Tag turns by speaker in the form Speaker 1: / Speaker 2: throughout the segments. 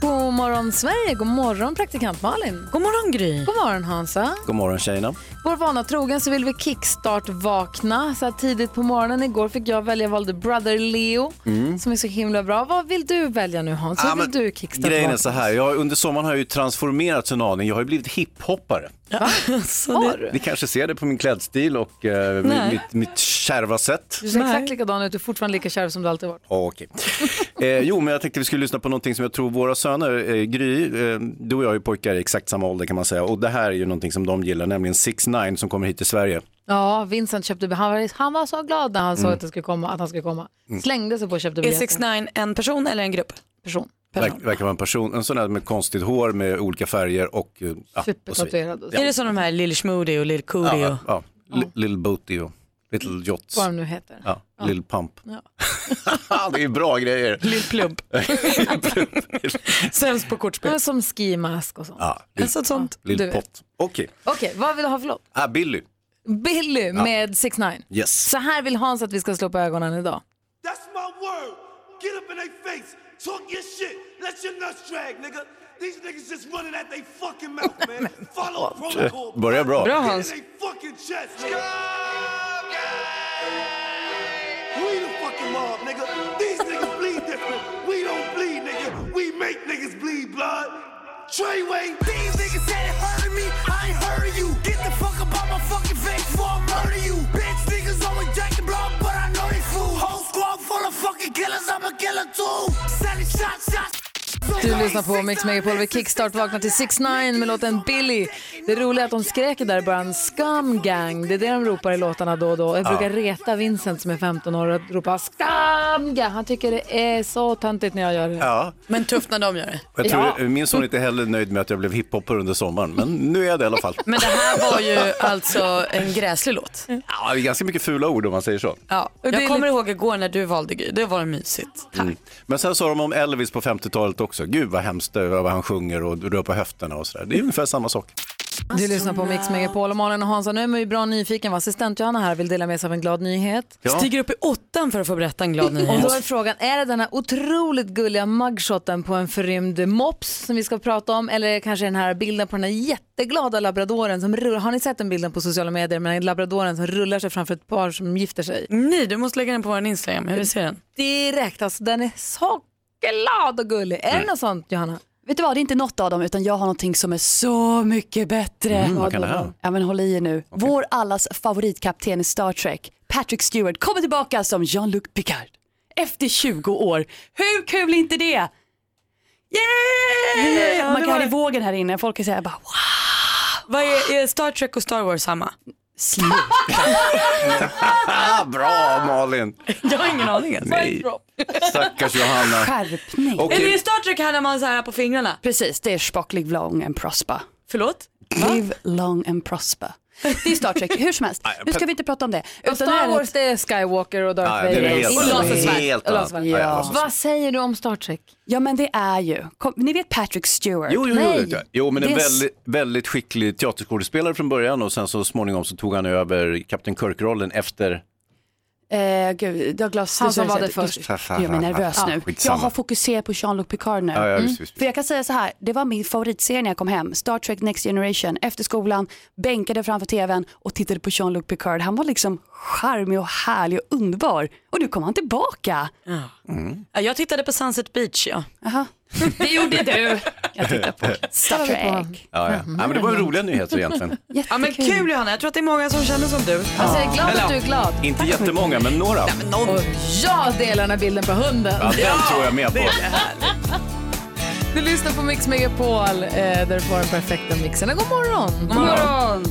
Speaker 1: God morgon Sverige, god morgon praktikant Malin. God morgon Gry. God morgon Hansa.
Speaker 2: God morgon tjejerna.
Speaker 1: Vår vana trogen så vill vi kickstart-vakna så här tidigt på morgonen. Igår fick jag välja, jag valde Brother Leo som är så himla bra. Vad vill du välja nu Hans? Hur
Speaker 2: Ja,
Speaker 1: vill
Speaker 2: Mm. Ah, men
Speaker 1: du kickstart-vakna?
Speaker 2: Grejen är så här, jag, under sommaren har jag ju transformerats en aning. Jag har ju blivit hiphoppare.
Speaker 1: Har du?
Speaker 2: Ni kanske ser det på min klädstil och eh, mi-
Speaker 1: Nej.
Speaker 2: mitt, mitt kärva sätt.
Speaker 1: Du ser exakt likadan ut, du är fortfarande lika kärv som du alltid varit.
Speaker 2: Ja, Okej. Eh, jo, men jag tänkte vi skulle lyssna på någonting som jag tror våra söner, eh, Gry, eh, du och jag är ju pojkar i exakt samma ålder kan man säga. Och det här är ju någonting som de gillar, nämligen 6 9 som kommer hit till Sverige.
Speaker 1: Ja, Vincent köpte, han var, han var så glad när han
Speaker 2: Mm.
Speaker 1: såg att, det skulle komma, att han skulle komma. Slängde sig på och köpte
Speaker 3: Är
Speaker 1: biljetter.
Speaker 3: 6 9 en person eller en grupp?
Speaker 1: person.
Speaker 2: Verk, verkar vara en person, en sån där med konstigt hår med olika färger och... eh, Ja, och så vidare.
Speaker 1: Supertatuerad och så.
Speaker 3: Är det som de här Lil Schmoody och Lil Cootie?
Speaker 2: Ja,
Speaker 3: och...
Speaker 2: ja, Li- Little Booty och Little Jots.
Speaker 1: Vad de nu heter.
Speaker 2: Ja, Lill Pump. det är bra grejer.
Speaker 3: Lill Plump. Sämst på kortspel.
Speaker 1: Men som ski mask och sånt.
Speaker 2: Ja, Lill,
Speaker 3: Alltså sånt.
Speaker 1: du
Speaker 2: Lill
Speaker 1: vet.
Speaker 2: Pott. Okej,
Speaker 1: Okej, vad vill du ha för låt?
Speaker 2: ah, Billy.
Speaker 1: Billy med 6 9
Speaker 2: Yes.
Speaker 1: Så här vill Hans att vi ska slå på ögonen idag.
Speaker 4: That's my word. Get up in their face. Talk your shit. Let your nuts drag, nigga. These niggas just running at they fucking mouth, man. Follow protocol.
Speaker 2: Börjar bra.
Speaker 4: Get
Speaker 2: Bra,
Speaker 4: in
Speaker 3: Hans.
Speaker 4: they fucking chest, nigga. We the fucking mob, nigga. These niggas bleed different. We don't bleed, nigga. We make niggas bleed blood. Treyway. These niggas said it hurt me. I ain't hurt you. Get the fuck up out my fucking face before I murder you. Bitch, niggas always jacking blood, but I know they fools. Whole squad full of fucking killers. I'm a killer too. Selling shots, shots.
Speaker 1: Du lyssnar på Mix Megapol vid Kickstart vaknar till 6 9 med låten Billy. Det roliga är att de skrek där i början, Scum Gang. Det är det de ropar i låtarna då och då. Jag brukar reta Vincent som är 15 år och ropa Scum Gang. Han tycker det är så töntigt när jag gör det.
Speaker 2: Ja,
Speaker 3: Men tufft när de gör det.
Speaker 2: jag tror,
Speaker 1: Ja.
Speaker 2: Min son är inte heller nöjd med att jag blev hiphopper under sommaren, men nu är jag det i alla fall.
Speaker 3: Men det här var ju alltså en gräslig låt.
Speaker 2: Ja, det är ganska mycket fula ord om man säger så.
Speaker 3: Ja.
Speaker 1: det är
Speaker 3: Jag kommer
Speaker 1: lite-
Speaker 3: ihåg igår när du valde Gry. Det var mysigt.
Speaker 2: Mm. Men sen sa de om Elvis på 50-talet också. Gud vad hemskt det är, vad han sjunger och rör på höfterna och sådär. Det är ungefär samma sak.
Speaker 1: Du lyssnar på Mix Megapol och Malin och Hansa. Nu är man ju bra nyfiken. va? Assistent Johanna här vill dela med sig av en glad nyhet.
Speaker 2: Ja.
Speaker 3: Stiger upp i åttan för att få berätta en glad
Speaker 1: Och
Speaker 3: nyhet.
Speaker 1: då är frågan, är det den här otroligt gulliga mugshoten på en förrymd mops som vi ska prata om? Eller kanske den här bilden på den här jätteglada labradoren som rullar. Har ni sett den bilden på sociala medier med den här labradoren som rullar sig framför ett par som gifter sig?
Speaker 3: Nej, du måste lägga den på vår Instagram. Jag vill se den.
Speaker 1: Direkt alltså, den är så glad och gullig. Är
Speaker 2: Mm.
Speaker 1: det något sånt Johanna?
Speaker 5: Vet du vad, det är inte något av dem utan jag har någonting som är så mycket bättre.
Speaker 2: vad kan det här?
Speaker 5: Ja men håll i er nu. Vår allas favoritkapten i Star Trek, Patrick Stewart, kommer tillbaka som Jean-Luc Picard. Efter 20 år. Hur kul är inte det? Yay! Man
Speaker 3: det
Speaker 5: kan
Speaker 3: var-
Speaker 5: höra vågen här inne. Folk säger bara wow.
Speaker 3: Vad är, är Star Trek och Star Wars samma?
Speaker 5: Sluta.
Speaker 2: Ah, bra Malin!
Speaker 3: Jag har ingen aning. Alltså.
Speaker 2: Nej, stackars Johanna.
Speaker 5: Skärpning.
Speaker 3: Är det
Speaker 2: Okej,
Speaker 3: i Star Trek här när man så här på fingrarna?
Speaker 5: Precis, det är Spock, live long and prosper.
Speaker 3: Förlåt?
Speaker 5: Live long and prosper. Det är Star Trek, hur som helst. Nu ska vi inte prata om det. Utan nu är
Speaker 1: Star
Speaker 5: det-
Speaker 1: Wars det är Skywalker och Darth
Speaker 2: ah, det är
Speaker 1: Vader.
Speaker 2: helt
Speaker 1: Och lasersvärd.
Speaker 2: helt
Speaker 1: Och
Speaker 2: annat.
Speaker 1: lasersvärd.
Speaker 2: Ja, ja,
Speaker 5: Ja.
Speaker 2: lasersvärd.
Speaker 1: Vad säger du om Star Trek?
Speaker 5: Ja men det är ju, kom, ni vet Patrick Stewart?
Speaker 2: Jo, jo, jo,
Speaker 1: Nej.
Speaker 2: det vet jag. jo men en
Speaker 5: Det är s-
Speaker 2: väldigt, väldigt skicklig teaterskådespelare från början och sen så småningom så tog han över Kapten Kirk-rollen efter.
Speaker 5: Eh, gud, Douglas,
Speaker 1: Han
Speaker 5: du
Speaker 1: som
Speaker 5: säger
Speaker 1: var
Speaker 5: så-
Speaker 1: det först.
Speaker 5: Jag är nervös nu. Jag
Speaker 2: skitsamma.
Speaker 5: har fokuserat på Jean-Luc Picard nu.
Speaker 2: Ja, ja, visst, visst,
Speaker 5: För jag kan säga så här, det var min favoritserie när jag kom hem. Star Trek Next Generation, efter skolan, bänkade framför tvn och tittade på Jean-Luc Picard. Han var liksom charmig och härlig och underbar. Och nu kommer han tillbaka.
Speaker 3: Ja, Jag tittade på Sunset Beach. Ja.
Speaker 5: Aha. Det gjorde du. Jag tittar på Star Trek.
Speaker 2: Ja, ja. ja, men det var ju roliga nyheter egentligen.
Speaker 3: Ja, men
Speaker 5: Jättekul.
Speaker 3: kul Johanna, jag tror att det är många som känner som du.
Speaker 1: Alltså jag är glad att du är glad.
Speaker 2: Inte jättemånga, men några.
Speaker 1: Och jag delar den här bilden på hunden.
Speaker 2: Ja, den tror jag med på.
Speaker 1: Du lyssnar på Mix Megapol eh, där du får den perfekta mixen. God morgon! God morgon!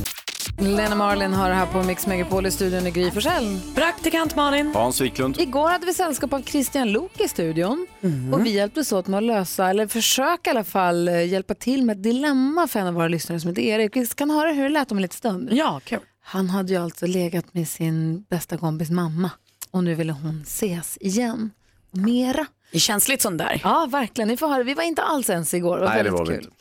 Speaker 1: Lena Marlin har det här på Mix Megapol i studion i Gry Forssell.
Speaker 3: Praktikant Malin.
Speaker 2: Hans Wiklund.
Speaker 1: Igår hade vi sällskap av Christian Lok i studion och vi hjälptes åt med att lösa, eller försöka i alla fall, eh, hjälpa till med ett dilemma för en av våra lyssnare som heter Erik. Vi kan höra hur det lät om en liten stund.
Speaker 3: Ja, kul.
Speaker 1: Han hade ju alltså legat med sin bästa kompis mamma och nu ville hon ses igen. Mera.
Speaker 3: Det är känsligt sånt där.
Speaker 1: Ja, verkligen. Ni får höra. Vi var inte alls ens igår. Det var
Speaker 2: Nej, det
Speaker 1: väldigt
Speaker 2: var vi
Speaker 1: kul.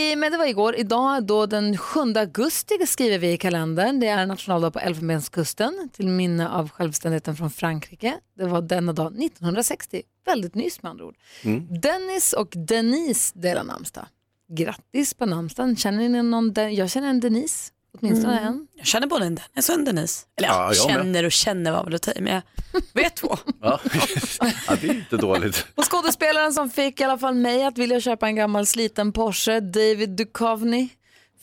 Speaker 1: I, men det var igår. Idag då den 7 augusti skriver vi i kalendern. Det är nationaldag på Elfenbenskusten till minne av självständigheten från Frankrike. Det var denna dag 1960. Väldigt nyss med andra ord.
Speaker 2: Mm.
Speaker 1: Dennis och Denise delar namnsdag. Grattis på namnsdagen. Känner ni någon? Den? Jag känner en Denise, åtminstone
Speaker 2: Mm.
Speaker 1: en.
Speaker 3: Jag känner både en Dennis och en Denise. Eller
Speaker 2: Ja,
Speaker 3: ja,
Speaker 2: jag med.
Speaker 3: känner och känner var väl att ta i, men jag vet två.
Speaker 2: Ja. ja, det är inte dåligt.
Speaker 1: Och skådespelaren som fick i alla fall mig att vilja köpa en gammal sliten Porsche, David Duchovny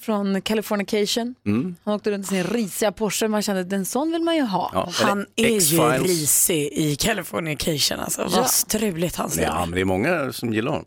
Speaker 1: från Californication. Han åkte runt i sin risiga Porsche, man kände att en sån vill man ju ha.
Speaker 2: Ja,
Speaker 3: Han
Speaker 2: eller
Speaker 3: är ju
Speaker 2: X-Files.
Speaker 3: risig i Californication alltså. Vad struligt hans liv
Speaker 2: Ja,
Speaker 3: är.
Speaker 2: men det är många som gillar honom.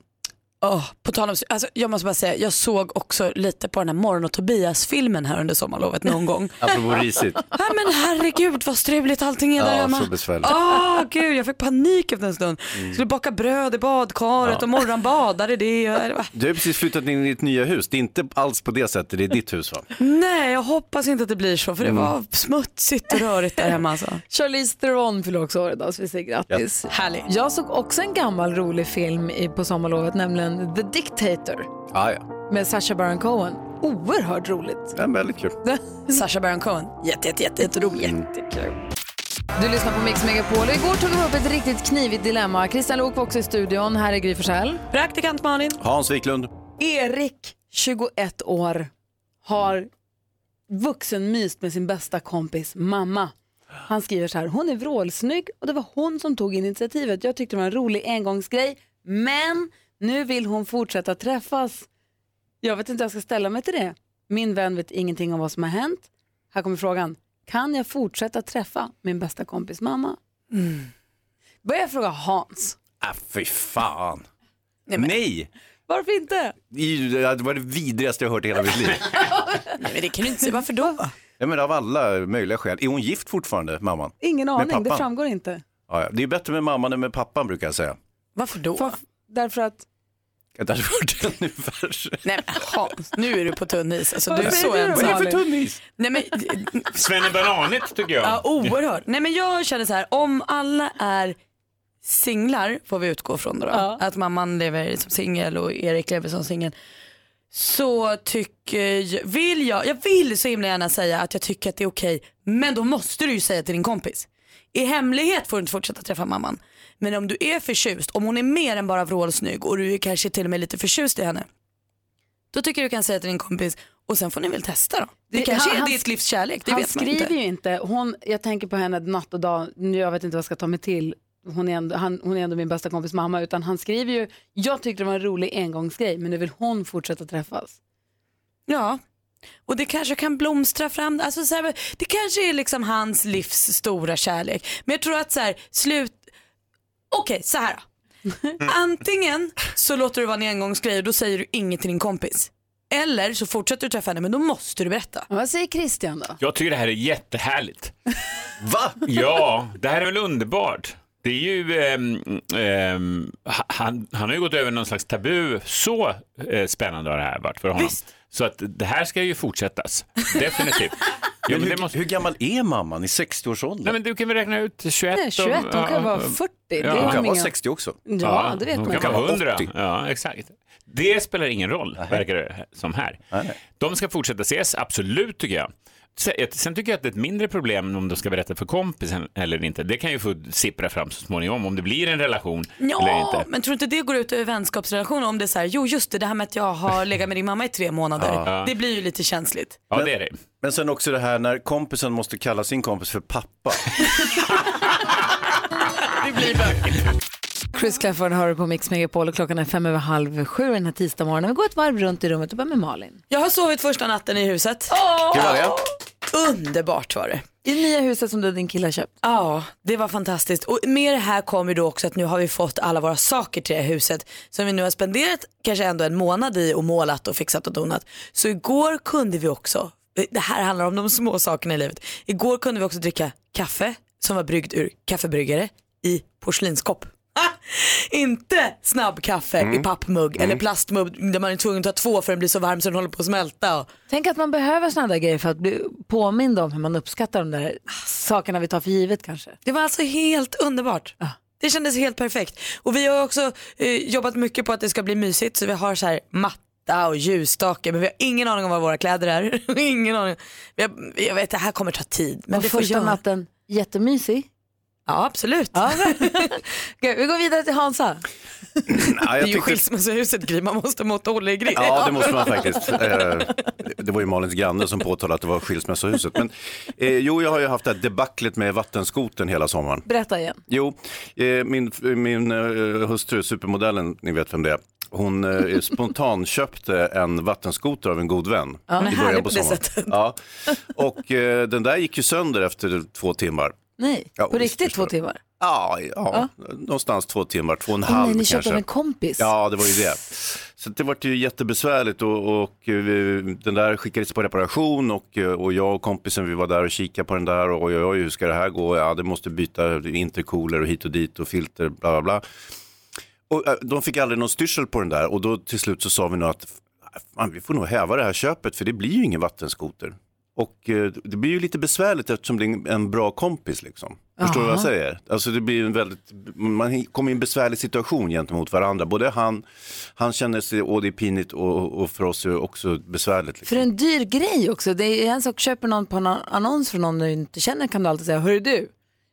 Speaker 3: Åh, på tal om, alltså, jag måste bara säga, jag såg också lite på den här Morgon och Tobias-filmen här under sommarlovet någon gång.
Speaker 2: Apropå risigt.
Speaker 3: Nej men herregud vad struligt allting är där
Speaker 2: Ja,
Speaker 3: hemma.
Speaker 2: så besvärligt. Mm.
Speaker 3: Åh gud, jag fick panik efter en stund. Skulle baka bröd i badkaret och morgonbadade i det. Och, det var-
Speaker 2: Du har precis flyttat in i ditt nya hus. Det är inte alls på det sättet, det är ditt hus va?
Speaker 3: Nej, jag hoppas inte att det blir så för
Speaker 2: Mm.
Speaker 3: det var smutsigt och rörigt där hemma alltså.
Speaker 1: Charlize Theron fyller också år idag så vi säger grattis. Härligt. Jag såg också en gammal rolig film i- på sommarlovet, nämligen The Dictator
Speaker 2: Ah, ja,
Speaker 1: med Sacha Baron Cohen. Oerhört roligt.
Speaker 2: ja. Väldigt kul.
Speaker 3: Sasha Baron Cohen, jätte, jätte, jätte, jätterolig, jättekul.
Speaker 1: Du lyssnar på Mix Megapol. Och Igår tog vi upp ett riktigt knivigt dilemma. Christian Lok var också i studion. Här är Gry Forssell.
Speaker 3: Praktikant Malin.
Speaker 2: Hans Wiklund.
Speaker 1: Erik, 21 år, har vuxenmyst med sin bästa kompis mamma. Han skriver så här, hon är vrålsnygg och det var hon som tog initiativet. Jag tyckte det var en rolig engångsgrej, men nu vill hon fortsätta träffas. Jag vet inte hur jag ska ställa mig till det. Min vän vet ingenting om vad som har hänt. Här kommer frågan, kan jag fortsätta träffa min bästa kompis mamma? Börjar jag fråga Hans,
Speaker 2: Ah, fy fan. Nej! Men... Nej.
Speaker 1: varför inte?
Speaker 2: Det är ju- Det var det vidrigaste jag hört i hela mitt liv.
Speaker 3: Nej, men det kan du inte säga, varför då?
Speaker 2: Jag menar av alla möjliga skäl. Är hon gift fortfarande, mamman?
Speaker 1: Ingen aning, det
Speaker 2: pappan?
Speaker 1: framgår inte.
Speaker 2: Ja, ja. Det är bättre med mamman än med pappan brukar jag säga.
Speaker 3: Varför då?
Speaker 1: Varf- därför att
Speaker 2: Jag hade hört ännu värre.
Speaker 3: Nej men Hans, nu är du på tunn is. Alltså, du är
Speaker 1: Vad
Speaker 3: så
Speaker 1: säger du då,
Speaker 3: ensam.
Speaker 1: Malin?
Speaker 2: tunnis?
Speaker 3: Nej, men,
Speaker 6: Svennebananigt tycker jag.
Speaker 3: ja, oerhört. Nej men jag känner så här, om alla är singlar får vi utgå från det då.
Speaker 1: Ja.
Speaker 3: Att mamman lever som singel och Erik lever som singel. Så tycker jag, vill jag, jag vill så himla gärna säga att jag tycker att det är okej. Men då måste du ju säga till din kompis. I hemlighet får du inte fortsätta träffa mamman. Men om du är förtjust, om hon är mer än bara vrålsnygg och du är kanske till och med lite förtjust i henne. Då tycker jag du kan säga till din kompis och sen får ni väl testa då. Det,
Speaker 1: Det-
Speaker 3: kanske
Speaker 1: han-
Speaker 3: är
Speaker 1: han-
Speaker 3: ditt livs kärlek, det
Speaker 1: han
Speaker 3: vet man
Speaker 1: skriver
Speaker 3: inte.
Speaker 1: ju inte. Hon, jag tänker på henne natt och dag. Nu, Jag vet inte vad jag ska ta mig till. Hon är, ändå, han, hon är ändå min bästa kompis mamma. Utan han skriver ju, jag tyckte det var en rolig engångsgrej men nu vill hon fortsätta träffas.
Speaker 3: Ja, och det kanske kan blomstra fram. Alltså så här, det kanske är liksom hans livs stora kärlek. Men jag tror att så här, slut... Okej, så här då.
Speaker 6: Mm.
Speaker 3: Antingen så låter du vara en engångsgrej och då säger du inget till din kompis. Eller så fortsätter du träffa henne men då måste du berätta.
Speaker 1: Men vad säger Christian då?
Speaker 6: Jag tycker det här är jättehärligt.
Speaker 2: Va?
Speaker 6: Ja, det här är väl underbart. Det är ju, ehm, ehm, ha- han, han har ju gått över någon slags tabu. Så eh, spännande har det här varit för honom.
Speaker 3: Visst.
Speaker 6: Så att det här ska ju fortsättas, definitivt.
Speaker 2: Men
Speaker 6: jo, men det
Speaker 2: hur,
Speaker 6: måste...
Speaker 2: hur gammal är mamman? I
Speaker 6: Nej,
Speaker 2: 60-årsåldern?
Speaker 6: men du kan väl räkna ut 21?
Speaker 1: Nej, 21, hon
Speaker 6: ja,
Speaker 1: kan vara
Speaker 6: ja.
Speaker 1: 40. Det
Speaker 6: Ja.
Speaker 1: är
Speaker 2: Hon
Speaker 1: liksom
Speaker 2: kan vara
Speaker 1: ingen-
Speaker 2: 60 också.
Speaker 1: Ja, det vet man
Speaker 6: hon
Speaker 1: inte.
Speaker 6: kan vara 100.
Speaker 2: 80.
Speaker 6: Ja, exakt. Det spelar ingen roll, verkar det som här. De ska fortsätta ses, absolut tycker jag. Se- ett- Sen tycker jag att det är ett mindre problem om de ska berätta för kompisen eller inte. Det kan ju få sippra fram så småningom om det blir en relation eller
Speaker 3: Ja,
Speaker 6: inte.
Speaker 3: men tror du inte det går ut över vänskapsrelationer om det är så här, jo just det, det här med att jag har legat med din mamma i tre månader. Det blir ju lite känsligt.
Speaker 6: Ja, det är det.
Speaker 2: Men sen också det här när kompisen måste kalla sin kompis för pappa.
Speaker 1: Chris Clafford hör du på Mix Megapol och klockan är fem över halv sju den här tisdagsmorgonen. Vi går ett varv runt i rummet och börjar med Malin.
Speaker 3: Jag har sovit första natten i huset.
Speaker 2: Gud, vad är det?
Speaker 3: Underbart var det.
Speaker 1: I det nya huset som du och din kille har köpt.
Speaker 3: Ja, det var fantastiskt. Och med det här kommer ju då också att nu har vi fått alla våra saker till det här huset som vi nu har spenderat kanske ändå en månad i och målat och fixat och donat. Så igår kunde vi också det- det här handlar om de små sakerna i livet. Igår kunde vi också dricka kaffe som var bryggt ur kaffebryggare i porslinskopp. Ah! Inte snabbkaffe i pappmugg eller plastmugg där man är tvungen att ta två för den blir så varm så den håller på att smälta.
Speaker 1: Tänk att man behöver sådana där grejer för att bli påmind om hur man uppskattar de där sakerna vi tar för givet kanske.
Speaker 3: Det var alltså helt underbart. Det kändes helt perfekt. Och vi har också eh, jobbat mycket på att det ska bli mysigt så vi har så här matta och ljusstake men vi har ingen aning om vad våra kläder är. ingen aning. Vi har, jag vet det här kommer ta tid men
Speaker 1: Men
Speaker 3: det
Speaker 1: det
Speaker 3: får
Speaker 1: första
Speaker 3: göra.
Speaker 1: natten, jättemysig.
Speaker 3: Ja absolut.
Speaker 1: Okej, vi går vidare till Hansa.
Speaker 2: Ja,
Speaker 3: Det
Speaker 2: jag
Speaker 3: är ju
Speaker 2: tyckte-
Speaker 3: skilsmässohuset Gry, man måste måtta Olle i Gry.
Speaker 2: Ja, det måste man faktiskt. Eh, Det var ju Malins granne som påtalade att det var skilsmässohuset. Men, eh, jo, jag har ju haft det här debaclet med vattenskoten hela sommaren.
Speaker 1: Berätta igen.
Speaker 2: Jo, eh, min, min eh, hustru, supermodellen, ni vet vem det är, hon eh, spontanköpte en vattenskoter av en god vän
Speaker 3: men
Speaker 2: i
Speaker 3: härlig
Speaker 2: början
Speaker 3: på
Speaker 2: på
Speaker 3: det
Speaker 2: sommaren.
Speaker 3: sättet.
Speaker 2: Ja. Och eh, den där gick ju sönder efter två timmar.
Speaker 1: Nej,
Speaker 2: Ja,
Speaker 1: på
Speaker 2: visst,
Speaker 1: riktigt
Speaker 2: förstår
Speaker 1: två
Speaker 2: du.
Speaker 1: timmar.
Speaker 2: Ja, ja, någonstans två timmar, två och en halv
Speaker 1: Nej, ni
Speaker 2: kanske.
Speaker 1: köpte av en kompis.
Speaker 2: Ja, det var ju det. Så det var ju jättebesvärligt och, och eh, den där skickades på reparation och, eh, och jag och kompisen vi var där och kikade på den där och oj, oj, oj, hur ska det här gå? Ja, det måste byta intercooler och hit och dit och filter, bla bla bla. Och eh, de fick aldrig någon styrsel på den där och då till slut så sa vi nog att fan, vi får nog häva det här köpet för det blir ju ingen vattenskoter. Och eh, det blir ju lite besvärligt eftersom det är en- en bra kompis liksom. Förstår du vad jag säger? Alltså det blir ju en väldigt, man kommer i en besvärlig situation gentemot varandra. Både han, han känner sig, åh det är pinigt och, och för oss är det också besvärligt.
Speaker 1: För
Speaker 2: Liksom.
Speaker 1: en dyr grej också. Det är en sak, köper någon på en annons från någon du inte känner kan du alltid säga, hörru du,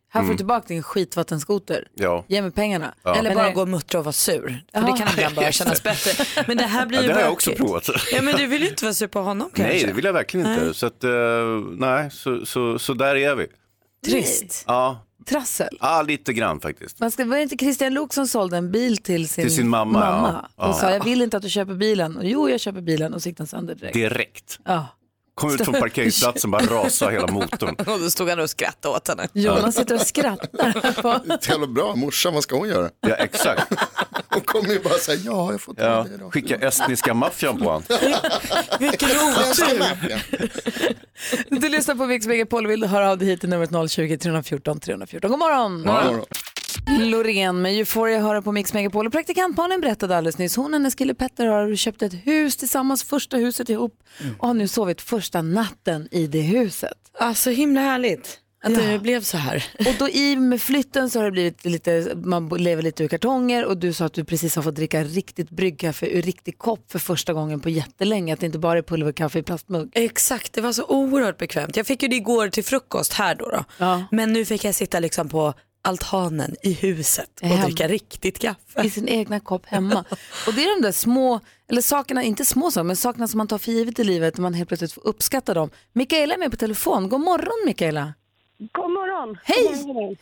Speaker 1: här får du tillbaka din skitvattenskoter.
Speaker 2: Mm. Ja.
Speaker 1: Ge mig pengarna.
Speaker 3: Eller
Speaker 1: Men
Speaker 3: bara
Speaker 1: det-
Speaker 3: gå och muttra och vara sur. För
Speaker 1: Ja.
Speaker 3: det kan ibland bara kännas bättre. Men det här blir
Speaker 2: Ja,
Speaker 3: ju
Speaker 2: det har jag
Speaker 3: bökigt.
Speaker 2: också provat.
Speaker 3: Ja men du vill ju inte vara sur på honom kanske.
Speaker 2: Nej, det vill jag verkligen inte. Så, att, eh, nej, så, så, så där är vi.
Speaker 1: Trist.
Speaker 2: Ja,
Speaker 1: Trassel.
Speaker 2: ja lite grann faktiskt.
Speaker 1: Man ska, var det inte Christian Luuk som sålde en bil till sin,
Speaker 2: Till sin mamma, ja.
Speaker 1: Och
Speaker 2: Ja.
Speaker 1: sa jag vill inte att du köper bilen. Och, jo jag köper bilen och så gick den sönder direkt.
Speaker 2: Direkt.
Speaker 1: Ja.
Speaker 2: Kom ut från parkeringsplatsen, bara rasa hela motorn.
Speaker 3: Och då stod han och skrattade åt henne.
Speaker 1: Jonas sitter och skrattar. på-
Speaker 7: Det är jävla bra, morsan vad ska hon göra?
Speaker 2: Ja, exakt.
Speaker 7: Hon kommer ju bara säga ja, jag får ta
Speaker 2: Ja.
Speaker 7: det då.
Speaker 2: Skicka estniska maffian på honom.
Speaker 3: Vilken otur.
Speaker 1: du lyssnar på Mix Megapol och vill du höra av dig hit till numret 020-314 314. God morgon!
Speaker 7: Ja,
Speaker 1: Loreen med Euphoria hör på Mix Megapol och praktikantbarnen berättade alldeles nyss, hon och hennes kille Petter har köpt ett hus tillsammans, första huset ihop och har nu sovit första natten i det huset.
Speaker 3: Alltså himla härligt att det blev så här.
Speaker 1: Och då i med flytten så har det blivit lite, man bo- lever lite ur kartonger och du sa att du precis har fått dricka riktigt bryggkaffe ur riktig kopp för första gången på jättelänge, att det inte bara är pulverkaffe i plastmugg.
Speaker 3: Exakt, det var så oerhört bekvämt. Jag fick ju det igår till frukost här då. då.
Speaker 1: Ja.
Speaker 3: Men nu fick jag sitta liksom på altanen i huset och
Speaker 1: Hem.
Speaker 3: dricka riktigt
Speaker 1: i
Speaker 3: kaffe.
Speaker 1: sin egna kopp hemma. Och det är de där små, eller sakerna, inte små saker, men sakerna som man tar för givet i livet och man helt plötsligt får uppskatta dem. Mikaela är med på telefon. God morgon Mikaela!
Speaker 8: God morgon!
Speaker 1: Hej!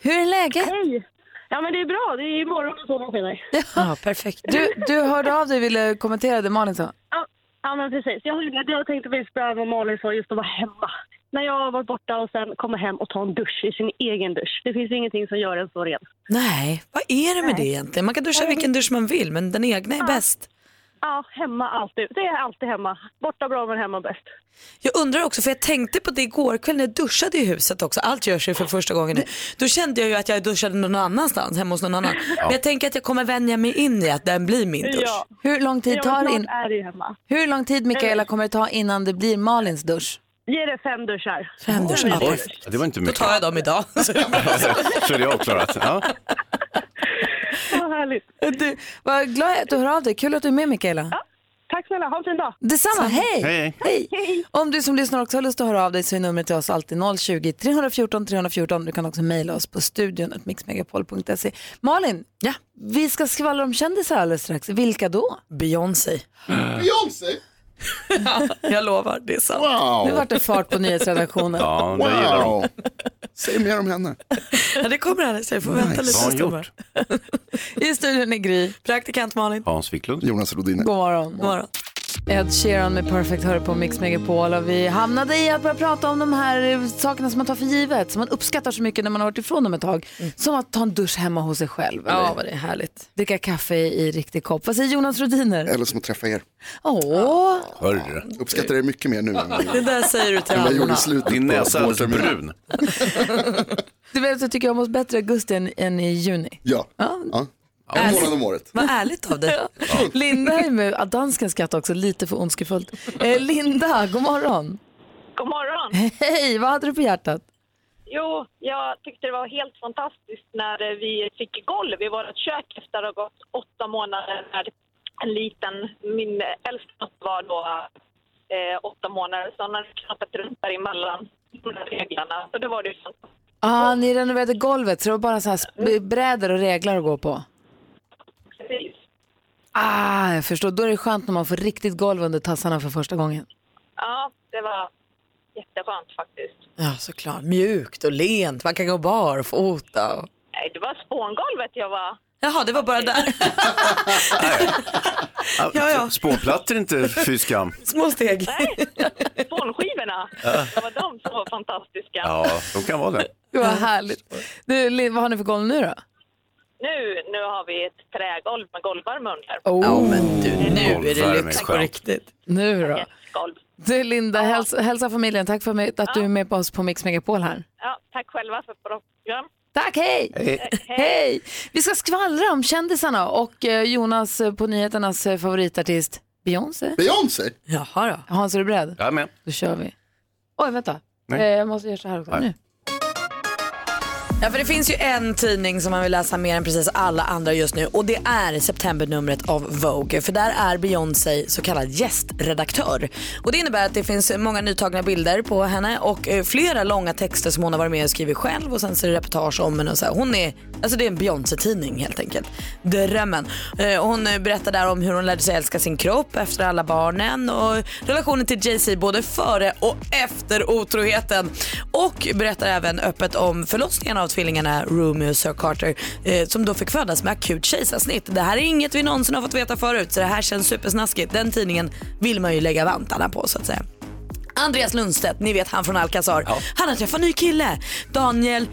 Speaker 1: Hur är läget?
Speaker 8: Hej! Ja men det är bra, det är imorgon och solen skiner.
Speaker 3: Ja, perfekt.
Speaker 1: Du, du hörde av dig och ville kommentera det Malin sa.
Speaker 8: Ja, ja men precis, jag, gjorde det. jag tänkte precis på vad Malin sa, just att vara hemma. När jag har varit borta och sen kommer hem och tar en dusch i sin egen dusch. Det finns ingenting som gör en så ren.
Speaker 3: Nej, vad är det med det egentligen? Man kan duscha vilken dusch man vill men den egna är bäst.
Speaker 8: Ja, hemma alltid. Det är alltid hemma. Borta bra men hemma bäst.
Speaker 3: Jag undrar också, för jag tänkte på det igår kväll när jag duschade i huset också, allt görs ju för första gången nu. Då kände jag ju att jag duschade någon annanstans, hemma hos någon annan. Men jag tänker att jag kommer vänja mig in i att den blir min dusch.
Speaker 8: Ja,
Speaker 1: Hur lång tid,
Speaker 8: ja Eh.
Speaker 1: tar
Speaker 8: men
Speaker 1: in,
Speaker 8: snart är det ju hemma.
Speaker 1: hur lång tid Mikaela kommer det ta innan det blir Malins dusch?
Speaker 8: Ge det fem duschar.
Speaker 3: Fem duschar. Ja,
Speaker 2: Oj,
Speaker 3: perfekt.
Speaker 2: det var inte
Speaker 3: Då
Speaker 2: mycket.
Speaker 3: tar jag dem idag.
Speaker 2: Så är det avklarat. Ja.
Speaker 8: Vad härligt.
Speaker 1: Du, vad glad jag är att du hör av dig. Kul att du är med Mikaela.
Speaker 8: Tack snälla, ha en fin dag.
Speaker 1: Detsamma, hej!
Speaker 2: Hej.
Speaker 1: Hej! Om du som lyssnar också har lust att höra av dig så är numret till oss alltid 020 314 314. Du kan också mejla oss på studion mixmegapol.se. Malin,
Speaker 3: Ja.
Speaker 1: vi ska skvallra om kändisar alldeles strax. Vilka då?
Speaker 3: Beyoncé.
Speaker 7: Beyoncé!
Speaker 3: Jag lovar, det är sant.
Speaker 1: Nu
Speaker 7: Wow!
Speaker 1: vart det fart på nyhetsredaktionen.
Speaker 2: Ja, det gillar de.
Speaker 7: wow. Säg mer om henne.
Speaker 3: Ja, det kommer alldeles, jag får vänta
Speaker 2: Vad
Speaker 3: lite.
Speaker 2: har
Speaker 3: en
Speaker 2: han
Speaker 3: stund bara.
Speaker 2: gjort?
Speaker 1: I studion är Gry.
Speaker 3: Praktikant Malin.
Speaker 2: Hans Wiklund.
Speaker 7: Jonas Rhodiner.
Speaker 1: God morgon.
Speaker 3: God morgon.
Speaker 1: Ed Sheeran med Perfect hör på Mix Megapol och vi hamnade i att börja prata om de här eh, sakerna som man tar för givet, som man uppskattar så mycket när man har varit ifrån dem ett tag. Som att ta en dusch hemma hos sig själv.
Speaker 3: Ja,
Speaker 1: vad det är härligt. Dricka kaffe i riktig kopp. Vad säger Jonas Rodiner?
Speaker 7: Eller som att träffa er.
Speaker 1: Åh,
Speaker 2: Hörru.
Speaker 7: Uppskattar det mycket mer nu.
Speaker 3: Det där säger du till
Speaker 7: än vad jag gjorde
Speaker 3: alla.
Speaker 7: i slutet
Speaker 2: Din
Speaker 7: på
Speaker 2: näsa är alldeles
Speaker 7: vårterminen.
Speaker 2: brun.
Speaker 1: du vet så tycker jag om oss bättre i augusti än, än i juni.
Speaker 7: Ja. ja. En månad om året.
Speaker 3: Vad ärligt av dig.
Speaker 1: Linda är med, ah, dansken skrattar också lite för ondskefullt. Eh, Linda, god morgon.
Speaker 8: God morgon!
Speaker 1: Hej, vad hade du på hjärtat?
Speaker 8: Jo, jag tyckte det var helt fantastiskt när eh, vi fick golv i vårt kök efter att ha gått åtta månader med en liten, min äldsta dotter var då eh, åtta månader, så hon hade knappat runt däremellan de här reglerna. Så det var det ju fantastiskt.
Speaker 1: Ah, ni renoverade golvet så det var bara så här sp- brädor och reglar att gå på.
Speaker 8: Precis.
Speaker 1: Ah, jag förstår. Då är det skönt när man får riktigt golv under tassarna för första gången.
Speaker 8: Ja, det var jätteskönt faktiskt.
Speaker 3: Ja, såklart. Mjukt och lent. Man kan gå barfota. Och...
Speaker 8: Nej, det var spångolvet jag var.
Speaker 3: Jaha, det var bara där.
Speaker 2: Ja,
Speaker 3: ja.
Speaker 2: Spånplattor är inte fy skam.
Speaker 3: Små steg.
Speaker 8: Nej, spånskivorna. Det var de som var fantastiska.
Speaker 2: Ja, de kan vara det.
Speaker 1: Det var härligt. Du, Lin, vad har ni för golv nu då?
Speaker 8: Nu, nu har vi ett trägolv med golvvärme under.
Speaker 1: Oh,
Speaker 2: Nu är det lyx på
Speaker 3: Riktigt.
Speaker 1: Nu då?
Speaker 8: Golv.
Speaker 1: Du Linda, hälsa, hälsa familjen. Tack för mig- att du är med på oss på Mix Megapol här.
Speaker 8: Ja, tack själva för ett bra program.
Speaker 1: Tack, hej! Hej! Vi ska skvallra om kändisarna och eh, Jonas eh, på nyheternas eh, favoritartist Beyoncé.
Speaker 7: Beyoncé!
Speaker 3: Jaha då.
Speaker 1: Hans, är du beredd?
Speaker 2: Jag är med.
Speaker 1: Då kör vi. Oj, vänta.
Speaker 2: Nej.
Speaker 1: Eh, jag måste göra så här också.
Speaker 2: Nej.
Speaker 1: Nu.
Speaker 3: Ja, för det finns ju en tidning som man vill läsa mer än precis alla andra just nu och det är septembernumret av Vogue. För där är Beyoncé så kallad gästredaktör. Och det innebär att det finns många nytagna bilder på henne och eh, flera långa texter som hon har varit med och skrivit själv och sen så är det reportage om henne och så här. Hon är, alltså det är en Beyoncé-tidning helt enkelt. Drömmen. Eh, och Hon eh, berättar där om hur hon lärde sig älska sin kropp efter alla barnen och relationen till Jay-Z både före och efter otroheten. Och berättar även öppet om förlossningen av tvillingarna Romeo och Sir Carter eh, som då fick födas med akut kejsarsnitt. Det här är inget vi någonsin har fått veta förut så det här känns supersnaskigt. Den tidningen vill man ju lägga vantarna på så att säga. Andreas Lundstedt, ni vet han från Alcazar. Han har träffat en ny kille. Daniel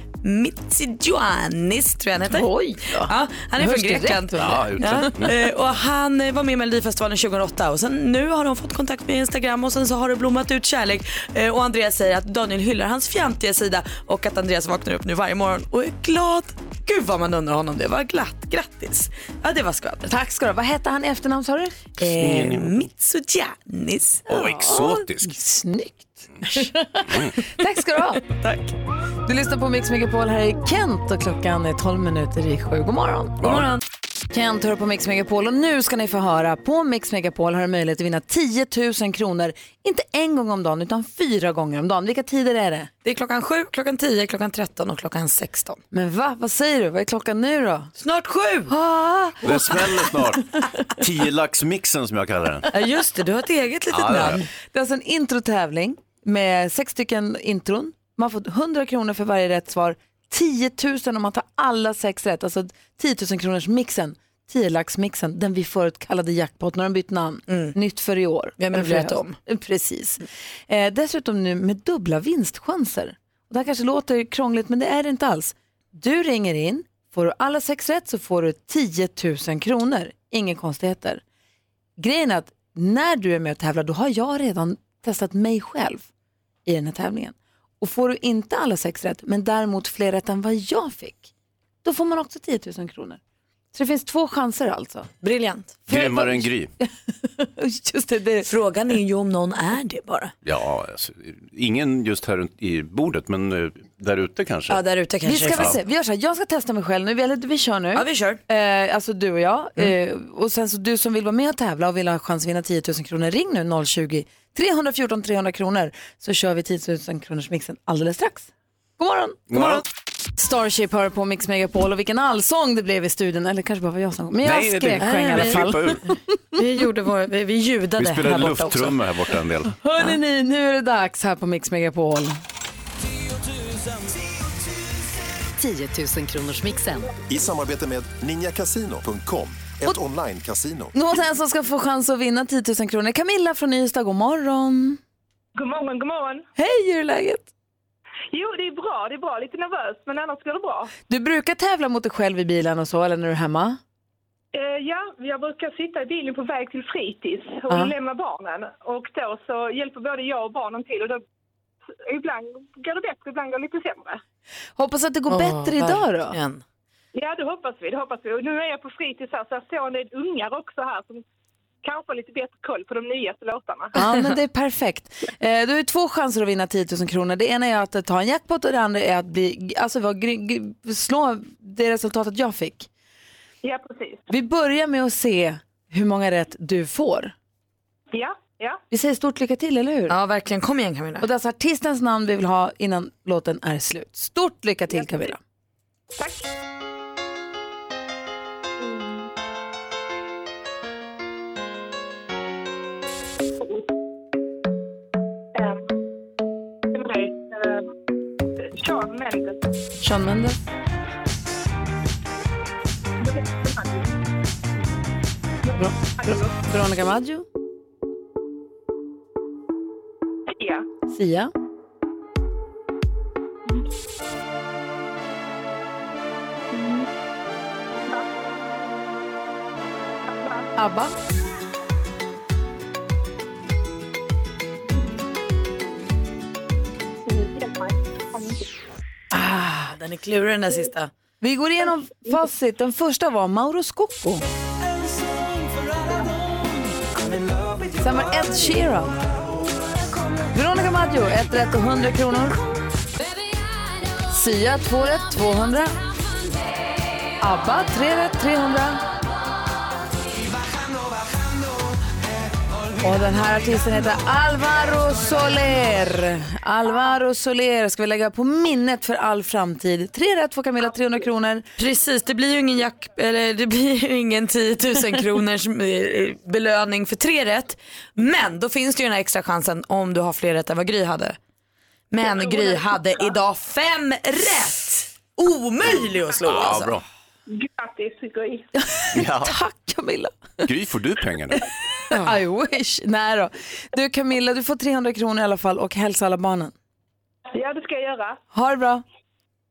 Speaker 3: Mitsidjoannis tror jag han heter.
Speaker 1: Oj då.
Speaker 3: ja, Han är
Speaker 1: Hörs
Speaker 3: från
Speaker 1: direkt,
Speaker 3: Grekland.
Speaker 1: va?
Speaker 2: Ja, utan.
Speaker 3: Ja,
Speaker 1: Mm.
Speaker 3: eh, och han eh, var med i Melodifestivalen 2008 och sen nu har de fått kontakt med Instagram och sen så har det blommat ut kärlek. Eh, Och Andreas säger att Daniel hyllar hans fjantiga sida och att Andreas vaknar upp nu varje morgon och är glad. Gud vad man undrar honom det. Var glatt. Grattis. Ja det var skvallret.
Speaker 1: Tack ska du ha. Vad hette han i efternamn sa du?
Speaker 3: Eh, Mitsujanis.
Speaker 2: Och exotisk.
Speaker 1: Snyggt. Tack ska du ha. Tack. Du lyssnar på Mix Megapol. Här är Kent och klockan är 12 minuter i sju. God morgon. God morgon. Kent hör på Mix Megapol och nu ska ni få höra. På Mix Megapol har du möjlighet att vinna 10 000 kronor. Inte en gång om dagen utan fyra gånger om dagen. Vilka tider är det?
Speaker 3: Det är klockan 7, klockan 10, klockan 13 och klockan 16.
Speaker 1: Men va? Vad säger du? Vad är klockan nu då?
Speaker 3: Snart 7!
Speaker 1: Ah,
Speaker 2: Det smäller snart. Tiolaxmixen som jag kallar den.
Speaker 3: Ja just det, du har ett eget litet
Speaker 2: Ja, det har jag.
Speaker 3: namn.
Speaker 1: Det är alltså en introtävling med sex stycken intron. Man får 100 kronor för varje rätt svar. 10 000 om man tar alla sex rätt. Alltså 10 000 kronors mixen. 10 laxmixen, den vi förut kallade jackpot. Nu har den bytt namn.
Speaker 2: Mm.
Speaker 1: Nytt för i år.
Speaker 3: Vem
Speaker 1: Eller
Speaker 3: vet
Speaker 1: för i höst.
Speaker 3: om?
Speaker 1: Precis. Eh, dessutom nu med dubbla vinstchanser. Och det här kanske låter krångligt men det är det inte alls. Du ringer in, får du alla sex rätt så får du 10 000 kronor. Inga konstigheter. Grejen är att när du är med och tävlar då har jag redan testat mig själv i den här tävlingen. Och får du inte alla sex rätt men däremot fler rätt än vad jag fick då får man också 10 000 kronor. Så det finns två chanser alltså.
Speaker 3: Briljant.
Speaker 2: Grymmare än Gry.
Speaker 1: Just det, det
Speaker 3: Frågan är ju om någon är det bara.
Speaker 2: Ja, alltså, ingen just här runt i bordet, men eh, där ute kanske.
Speaker 3: Ja där ute
Speaker 1: Vi
Speaker 3: kanske
Speaker 1: ska väl se, vi gör så här, jag ska testa mig själv nu, eller vi kör nu.
Speaker 3: Ja vi kör.
Speaker 1: Eh, alltså du och jag. Eh, och sen så du som vill vara med och tävla och vill ha chans att vinna 10 000 kronor, ring nu 020-314 300 kronor så kör vi 10 000 kronors mixen alldeles strax. God morgon!
Speaker 2: God morgon.
Speaker 1: Starship hör på Mix Megapol och vilken allsång det blev i studion. Eller kanske bara var jag som Men jag
Speaker 2: Nej, det-
Speaker 1: skrek sjöng i alla
Speaker 2: jag
Speaker 1: fall.
Speaker 2: flippade ur.
Speaker 3: Vi, gjorde vår, vi, vi ljudade
Speaker 2: Vi
Speaker 3: här
Speaker 2: spelade
Speaker 3: borta också.
Speaker 2: lufttrummor här borta en del.
Speaker 1: Hörrni ni, nu är det dags här på Mix Megapol.
Speaker 9: 10 000 kronors mixen.
Speaker 4: I samarbete med ninjakasino.com.
Speaker 9: Ett online-casino.
Speaker 1: Någon som ska få chans att vinna 10 000 kronor. Camilla från Ystad, god morgon.
Speaker 10: God morgon, god morgon.
Speaker 1: Hej, hur är läget?
Speaker 10: Jo, det är bra. Det är bra. Lite nervöst, men annars går det bra.
Speaker 1: Du brukar tävla mot dig själv i bilen och så, eller när du är hemma?
Speaker 10: Eh, ja, jag brukar sitta i bilen på väg till fritids och
Speaker 1: Ja.
Speaker 10: lämna barnen. Och då så hjälper både jag och barnen till. Och då, ibland går det bättre, ibland går det lite sämre.
Speaker 1: Hoppas att det går
Speaker 10: Åh,
Speaker 1: bättre idag då.
Speaker 10: verkligen. Ja, det hoppas vi. Det hoppas vi. Och nu är jag på fritids här, så jag står en del ungar också här som kanske har lite bättre koll på de nyaste låtarna.
Speaker 1: Ja, men det är perfekt. Eh, Du har ju två chanser att vinna 10 000 kronor. Det ena är att ta en jackpot och det andra är att bli, alltså, vara gry- gry- slå det resultatet jag fick.
Speaker 10: Ja, precis.
Speaker 1: Vi börjar med att se hur många rätt du får.
Speaker 10: Ja, ja.
Speaker 1: Vi säger stort lycka till, eller hur?
Speaker 3: Ja, verkligen. Kom igen Camilla.
Speaker 1: Och det är alltså artistens namn vi vill ha innan låten är slut. Stort lycka till Camilla.
Speaker 10: Sean Mendes.
Speaker 1: Sean Mendes. Ver- Veronica Maggio.
Speaker 10: Sia.
Speaker 1: Sia. ABBA.
Speaker 3: Ah, den är klurig den där sista.
Speaker 1: Vi går igenom facit. Den första var Mauro Scocco. Sen var Ed Sheeran. Veronica Maggio, ett rätt och 100 kronor. Sia, två rätt, 200. ABBA, tre rätt, 300. Och den här artisten heter Alvaro Soler. Alvaro Soler ska vi lägga på minnet för all framtid. Tre rätt får Camilla, 300 kronor.
Speaker 3: Precis, det blir ju ingen, jack, eller det blir ju ingen 10 000 kronors eh, belöning för tre rätt. Men då finns det ju den här extra chansen om du har fler rätt än vad Gry hade. Men Gry hade idag fem rätt. Omöjlig att slå alltså.
Speaker 2: bra.
Speaker 10: Grattis, Gry.
Speaker 2: Ja.
Speaker 1: Tack Camilla.
Speaker 2: Gry, får du pengarna?
Speaker 1: I wish. Nej då. Du Camilla, du får 300 kronor i alla fall och hälsa alla barnen.
Speaker 10: Ja, det ska jag göra.
Speaker 1: Ha det bra.